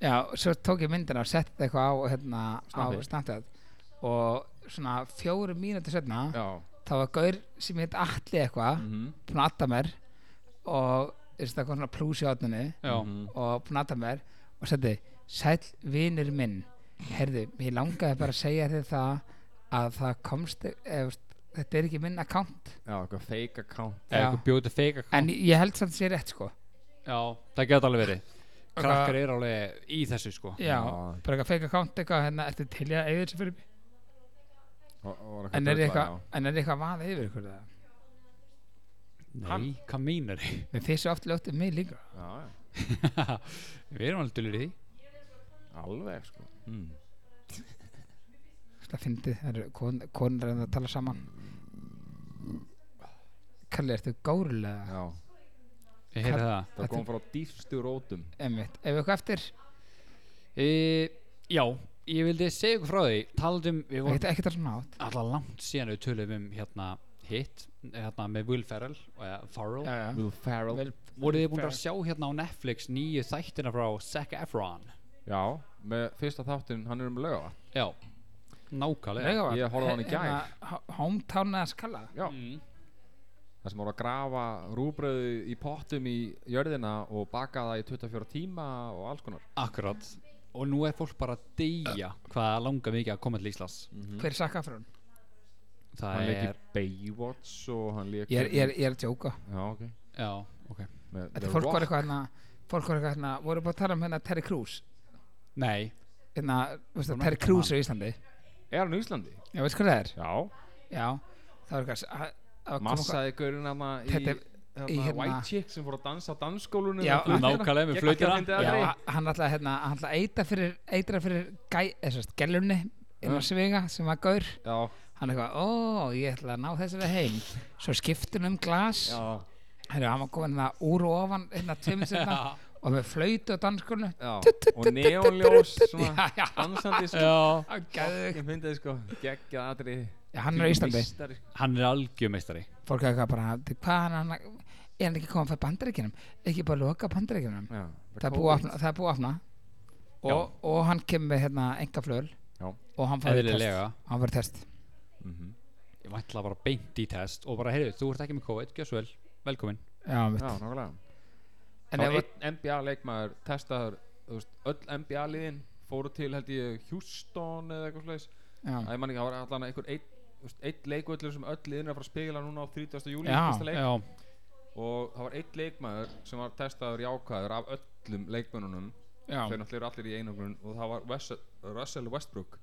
Speaker 2: já, svo tók ég myndina og setti eitthvað á hérna
Speaker 4: Snappi.
Speaker 2: Á Snapchat Og svona fjóru mínútur setna
Speaker 4: Já,
Speaker 2: Það var gaur sem heit allir eitthvað
Speaker 4: mhm
Speaker 2: Búin að adda mér Og, þú veist, það kom svona plús í átninni
Speaker 1: Já,
Speaker 4: mhm.
Speaker 2: og búin að mér og sagði, sæll vinur minn herðu, mér langaði bara að segja þér það að það komst eð, þetta er ekki minn account
Speaker 4: Já, eitthvað fake account
Speaker 1: eða eitthvað bjóti feika
Speaker 2: en ég held samt sér rétt sko
Speaker 1: Já, það geta alveg verið Krakkar eru alveg í þessu sko
Speaker 2: já,
Speaker 4: Já.
Speaker 2: bara eitthvað fake account eitthvað hérna eftir til ég að eigið þessu fyrir mig
Speaker 4: Og- og var
Speaker 2: en er
Speaker 4: drulla,
Speaker 2: eitthvað,
Speaker 4: já.
Speaker 2: en er eitthvað vaðið yfir ykkur það
Speaker 1: Nei, hvað meinar þið?
Speaker 2: en þið svo oft ljótið mig líka
Speaker 4: Já, já,
Speaker 1: Við erum alveg duglegar í því
Speaker 4: alveg sko mm.
Speaker 2: það fyndið, það eru kon, konur en að tala saman Kalli, ertu górulega
Speaker 4: Já,
Speaker 1: Ég heyri það
Speaker 4: það kom frá dýfstu rótum
Speaker 2: einmitt, ef eitthvað eftir
Speaker 1: e, Já, ég vildi segja ykkur frá því Taldum, við vorum
Speaker 2: ekkert ekkert að svona átt
Speaker 1: alltaf langt síðan við tölum um hérna hitt hérna með Will Ferrell og ja, Farrell
Speaker 2: já, já.
Speaker 4: Will Ferrell
Speaker 2: Vel,
Speaker 1: voruð þið búin að sjá hérna á Netflix nýju þættina frá Zac Efron
Speaker 4: Já, með fyrsta þáttinn, hann er um löga
Speaker 1: já, nákvæmlega
Speaker 2: Laugavatn.
Speaker 4: Ég horfði á hann í gær.
Speaker 2: Hérna, ho- Hometown eða skalla
Speaker 4: Já,
Speaker 1: mm.
Speaker 4: Það sem voru að grafa rúbröðu í pottum í jörðina og baka það í 24 tíma og alls konar.
Speaker 1: akkurat og nú er fólk bara að deyja hvað það langar mikið að koma til Íslands
Speaker 2: Hver er sakka frá hún?
Speaker 1: það
Speaker 4: Hann leik í
Speaker 1: er,
Speaker 4: Baywatch og hann leik...
Speaker 2: Ég er, ég er, ég er að djóka
Speaker 4: Já, ok.
Speaker 1: já, ok
Speaker 4: Með
Speaker 2: Þetta
Speaker 4: The
Speaker 2: fólk var
Speaker 4: Rock.
Speaker 2: eitthvað hérna Fólk var eitthvað hérna Voru bara að tala um hérna Terry Crews
Speaker 1: nei,
Speaker 2: Hérna, veistu,
Speaker 1: Vorum
Speaker 2: Terry
Speaker 1: ekki að
Speaker 2: Crews á Íslandi
Speaker 4: Er hann í Íslandi?
Speaker 2: Já, veistu hvað það er?
Speaker 4: Já.
Speaker 2: Já Það var eitthvað að- að kom eitthvað-
Speaker 4: Massaði gaurinn hann í...
Speaker 2: Þetta er- í
Speaker 4: hérna...
Speaker 2: hérna-
Speaker 4: White Chick sem fór að dansa á dansskólunum
Speaker 2: Já,
Speaker 1: nákvæmlega með flautina.
Speaker 2: Já,
Speaker 4: Já.
Speaker 2: hann- hann ætlaði hérna Hann ætlaði að eitra fyrir Eitra fyrir gæ Þessast, gælunni Inn á
Speaker 4: Já.
Speaker 2: Svega sem var gaur
Speaker 4: Já.
Speaker 2: Hann eitthvað Ó, ég ætla að ná þessari heim Svo skiptun um glas
Speaker 4: Já.
Speaker 2: Hérna, hann var komin hérna úr og ofan Hérna tveimur sinna Og með flöytu og danskunnu
Speaker 4: Já. Og neonljós svona
Speaker 2: já,
Speaker 4: dansandi sko.
Speaker 1: já,
Speaker 2: já, geðveikt.
Speaker 4: Ég myndi þið sko, geggjað aðri.
Speaker 2: Já, hann er á Íslandi
Speaker 4: Meistari, sko.
Speaker 1: hann er algjömeistari
Speaker 2: fólk er eitthvað bara, "Til hvað er hann að- er hann ekki komið fyrir bandaríkinum ekki bara loka bandaríkinum
Speaker 4: Já.
Speaker 2: það er búið að opna- það er búið að opna og, og hann kemur með hérna enga flöl
Speaker 4: Já.
Speaker 2: og hann fær í test
Speaker 1: eðlilega,
Speaker 2: hann fær í test
Speaker 4: Mhm.
Speaker 1: ég vantla bara beint í test og bara, heyrðu, þú ert ekki með COVID, gjössu vel velkomin,
Speaker 2: já, mitt.
Speaker 4: Já, nákvæmlega.
Speaker 2: en
Speaker 4: þá
Speaker 2: ef
Speaker 4: einn NBA leikmaður testaður þú veist, öll NBA liðin fóru til held ég Houston eða eitthvað slags
Speaker 2: já,
Speaker 4: það er manni ekki, það var allan einhver einn þú veist, einn leikvöllur sem öll liðin er að fara að spegla núna á 30. júli
Speaker 2: Já,
Speaker 4: fyrsta leik
Speaker 1: já,
Speaker 4: og það var einn leikmaður sem var testaður jákaður af öllum leikmönunum
Speaker 2: já,
Speaker 4: þeir náttúrulega eru allir í einangrun og það var Wes- Russell Westbrook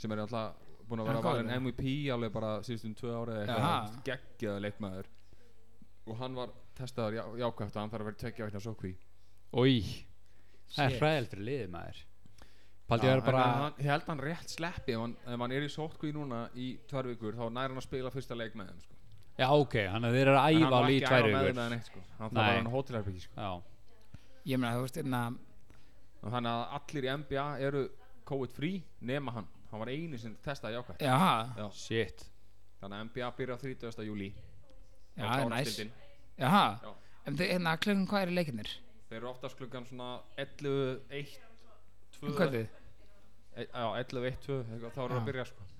Speaker 4: sem er alltaf búin að
Speaker 2: Hann
Speaker 4: vera
Speaker 2: er
Speaker 4: valin
Speaker 2: góður.
Speaker 4: MVP alveg bara síðustum tvö ára eða
Speaker 2: Jaha.
Speaker 4: eitthvað geggjaður leikmaður og hann var testaður já, jákvæft og hann þarf að vera tekja veitna sókví
Speaker 1: Új, það er
Speaker 2: Shit.
Speaker 1: hræðilegt fyrir liðið maður Paldi
Speaker 4: Já,
Speaker 1: að vera bara
Speaker 4: en hann, Ég held hann rétt sleppi ef hann, ef hann er í sótkví núna í tvær vikur þá nær hann að spila fyrsta leik með þeim sko.
Speaker 1: Já ok, hann er þeirra
Speaker 4: En
Speaker 1: að æfa
Speaker 4: var
Speaker 1: alveg í
Speaker 4: ekki að
Speaker 1: tvær
Speaker 4: æfa með
Speaker 1: vikur
Speaker 4: þeim eða neitt, sko. Hann
Speaker 1: Nei.
Speaker 4: það var hann hótelherbyggi sko.
Speaker 1: Já,
Speaker 2: ég meina þú veist hérna
Speaker 4: Og Þannig að allir í NBA eru COVID free nema hann hann var einu sem testaði jákvæmt
Speaker 2: já,
Speaker 4: Já.
Speaker 1: Shit
Speaker 4: þannig að NBA byrja á 30. júli
Speaker 2: já, það er næs já,
Speaker 4: Já.
Speaker 2: en þau, hérna, klukkan hvað eru leikinnir?
Speaker 4: þeir eru oftast klukkan svona 11, 1, 2
Speaker 2: Um Kvöldið?
Speaker 4: E- já, 11, 1, 2 eitthvað, þá eru
Speaker 2: Já.
Speaker 4: að byrja sko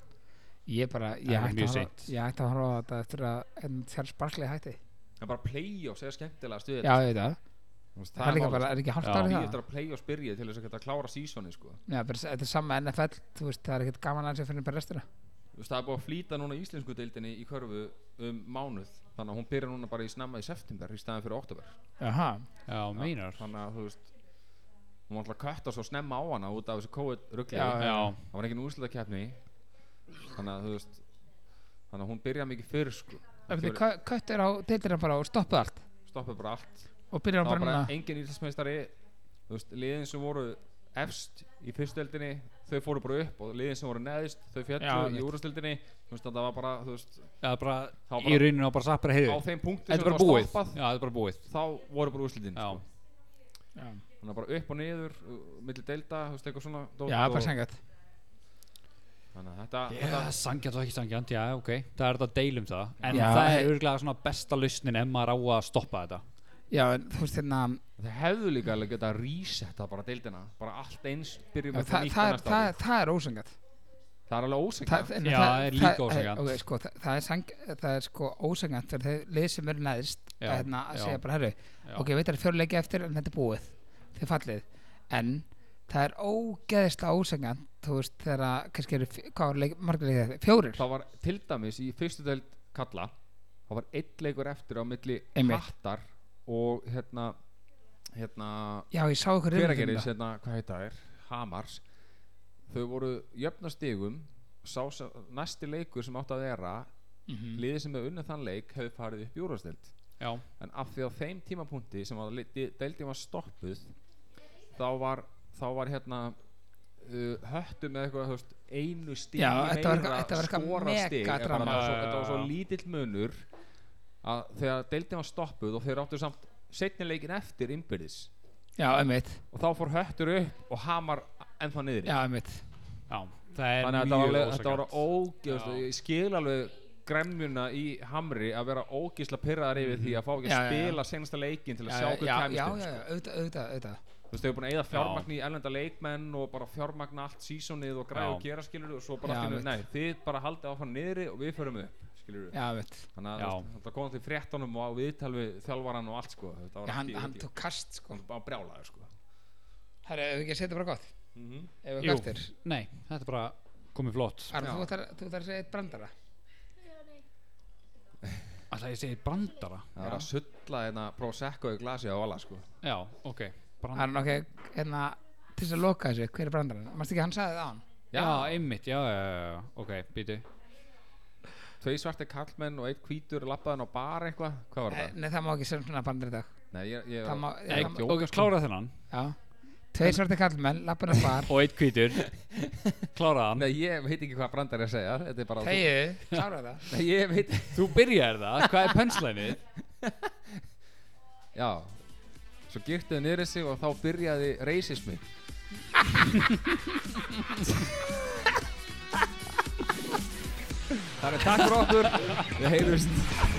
Speaker 2: Ég bara, ég
Speaker 1: Það er
Speaker 2: ætti
Speaker 1: mjög
Speaker 2: að horfa
Speaker 1: seint.
Speaker 2: ég ætti að horfa á þetta eftir að en þér sparklið hætti
Speaker 4: en bara playoffs er skemmtilega stuðið
Speaker 2: Já, ég veit það,
Speaker 4: það,
Speaker 2: það er líka bara, er ekki hálft
Speaker 1: Já.
Speaker 2: árið
Speaker 4: ég
Speaker 2: það?
Speaker 4: eftir að playoffs byrja til þess að geta að klára sísoni sko
Speaker 2: Já, bara, s- þetta er sama NFL, þú veist, það er ekkert gaman aðeins að finna bara restina
Speaker 4: Þú veist, það er búið að flýta núna í íslensku deildinni í körfu um mánuð þannig að hún byrja núna bara í snemma í september í staðan fyrir oktober
Speaker 2: Jaha,
Speaker 1: Já, meinar
Speaker 4: þannig að þú veist hún var alltaf að kötta svo snemma á hana út af þessu COVID ruggli
Speaker 2: Já,
Speaker 4: það
Speaker 1: Já,
Speaker 4: var engin úrslitakeppni þannig að þú veist þannig að hún byrja mikið fyrr sko
Speaker 2: ef þið kö- köttur á deildina bara og stoppuð allt
Speaker 4: stoppa bara allt
Speaker 2: og byrjar
Speaker 4: það
Speaker 2: hann
Speaker 4: var
Speaker 2: bara
Speaker 4: bara
Speaker 2: núna
Speaker 4: engin íslensmeistari þú veist, liðin sem voru efst í fyrstöldinni, þau fóru bara upp og liðin sem voru neðist, þau fjallu
Speaker 2: Já,
Speaker 4: í
Speaker 2: einmitt.
Speaker 4: úrstöldinni, þú veist, það var bara þú veist,
Speaker 1: það er bara
Speaker 4: Þá bara-
Speaker 1: í rauninu á bara sappra heiðu
Speaker 4: á þeim punktum
Speaker 1: Þetta
Speaker 4: sem
Speaker 1: er bara
Speaker 4: var
Speaker 1: búið
Speaker 4: stoppað
Speaker 1: Já, þetta er bara búið
Speaker 4: þá voru bara úrslitin
Speaker 1: Já,
Speaker 4: sko.
Speaker 2: Já,
Speaker 4: þannig að bara upp og niður uh, milli delta, þú veist, eitthvað svona dót
Speaker 2: Já,
Speaker 4: og-
Speaker 2: bara sengat
Speaker 4: þannig að þetta,
Speaker 1: Já, það er sangjant og ekki sangjant, já, ok Það er þetta að deilum það En
Speaker 2: Já.
Speaker 1: það er örglega svona besta lausnin ef maður á að stoppa þetta
Speaker 2: Já, en þú veist hérna
Speaker 4: þetta þeir hefðu líka alveg getað að resetta bara deildina, bara allt eins byrjum
Speaker 2: það,
Speaker 4: upp á
Speaker 2: það,
Speaker 4: nýtt á
Speaker 2: það,
Speaker 4: næsta
Speaker 2: það,
Speaker 4: ári.
Speaker 2: það er ósengat
Speaker 4: það er alveg ósegna
Speaker 1: Já, það er líka ósanngjarnt.
Speaker 2: Ok, sko, það, það, er sang, það er sko ósengat fyrir þau lið sem eru neðist
Speaker 1: Já,
Speaker 2: að, hérna, að
Speaker 1: já.
Speaker 2: segja bara, herru, ok, veit það er fjöruleiki eftir en þetta er búið, þið fallið en það er ógeðislega ósengat þú veist, þegar að kannski eru, fjö- hvað var leik, margleikið þetta, fjórir
Speaker 4: það var til dæmis í fyrstu deild kalla það var einn leikur eftir á milli
Speaker 2: Einmitt.
Speaker 4: hattar og hérna hérna
Speaker 2: Já, ég sá ykkur um
Speaker 4: hverageris, hérna, hvað heita þær Hamars, þau voru jöfna stigum sá, sem- næsti leikur sem átti að vera liðið sem hefur unnið þann leik hefur farið upp júrasteld
Speaker 1: Já,
Speaker 4: en af því á þeim tímapunkti sem að li- di- deildin var stoppuð þá var, þá var hérna uh, höttu með eitthvað þú veist, einu stíl
Speaker 2: Já, þetta var eitthvað- þetta var eitthvað mega drama.
Speaker 4: þetta var
Speaker 1: Já,
Speaker 4: svo,
Speaker 1: já,
Speaker 4: þetta var svo
Speaker 1: já.
Speaker 4: lítill munur að þegar deildin var stoppuð og þeir áttu samt setni leikin eftir innbyrðis
Speaker 2: Já, einmitt,
Speaker 4: og þá fór höttur upp og hamar ennþá niður
Speaker 2: já, einmitt
Speaker 1: já, það er
Speaker 4: þannig að þetta
Speaker 1: mjög
Speaker 4: var, alveg- þetta var
Speaker 1: ósangjant Já.
Speaker 4: ógeðslega ég skil alveg gremjuna í hamri að vera ógeðslega pyrraðar yfir því að fá ekki að
Speaker 2: Mhm. Já, já, já.
Speaker 4: spila senasta leikin til að
Speaker 2: Já,
Speaker 4: sjá
Speaker 2: já,
Speaker 4: hvað
Speaker 2: já,
Speaker 4: kemst
Speaker 2: já,
Speaker 4: þeim,
Speaker 2: já,
Speaker 4: sko.
Speaker 2: auðvitað, auðvitað, auðvitað
Speaker 4: þú veist, þau eru búin að eyða fjármagn í erlenda leikmenn og bara fjármagn allt sísonið og græði
Speaker 1: Já.
Speaker 4: og gera skilur og svo bara
Speaker 2: Já,
Speaker 4: allt í einu,
Speaker 2: mitt.
Speaker 4: nei, þið bara haldið áfram niðri og við förum upp, skilur
Speaker 2: Já, einmitt
Speaker 4: þannig
Speaker 1: Já.
Speaker 4: að þetta kom til fréttunum og á viðtal við þjálfaran og allt sko þetta
Speaker 2: Já,
Speaker 4: var
Speaker 2: hann,
Speaker 4: ekki,
Speaker 2: hann tók kast, sko
Speaker 4: hann bara brjálaði sko
Speaker 2: Herra, ef við ekki að setja bara gott Ef við
Speaker 1: Jú.
Speaker 2: kastir
Speaker 1: Nei, þetta er bara komið flott
Speaker 2: Arn, þú
Speaker 4: Já.
Speaker 2: ætlar þú ætlar að segja eitt brandara
Speaker 1: Alltaf ég segi brandara
Speaker 4: það var að sulla hérna prosecco í glasi á alla sko
Speaker 1: Já, ok brandara.
Speaker 2: Arn, ok, hérna Til þess að loka þessu, hver er brandaran? Manstu ekki að hann sagði það á hann?
Speaker 1: Já, einmitt, já, já, já, já, ok, býtu
Speaker 4: tvei svarte kallmenn og eitt hvítur lappaðan á bar eitthvað, hvað var þetta?
Speaker 2: Eh, Nei, það má ekki sem svona bandar í dag
Speaker 4: nei, ég, ég,
Speaker 2: Það má, það
Speaker 4: ég er
Speaker 2: má-
Speaker 4: að djóka, sko.
Speaker 1: Ok, klára þennan
Speaker 2: já Tveir svarti kallmenn, lappin að bar
Speaker 1: Og eitt hvítur Klára hann
Speaker 4: nei, ég veit ekki hvað brandar er að segja þetta er bara þú-
Speaker 2: Þegiðu, klára það
Speaker 4: Nei, ég veit,
Speaker 1: Þú byrjar það, hvað er penslæmið?
Speaker 4: já svo girtuðu niður sig og þá byrjaði reisismi þannig takk fyrir okkur við heyrumst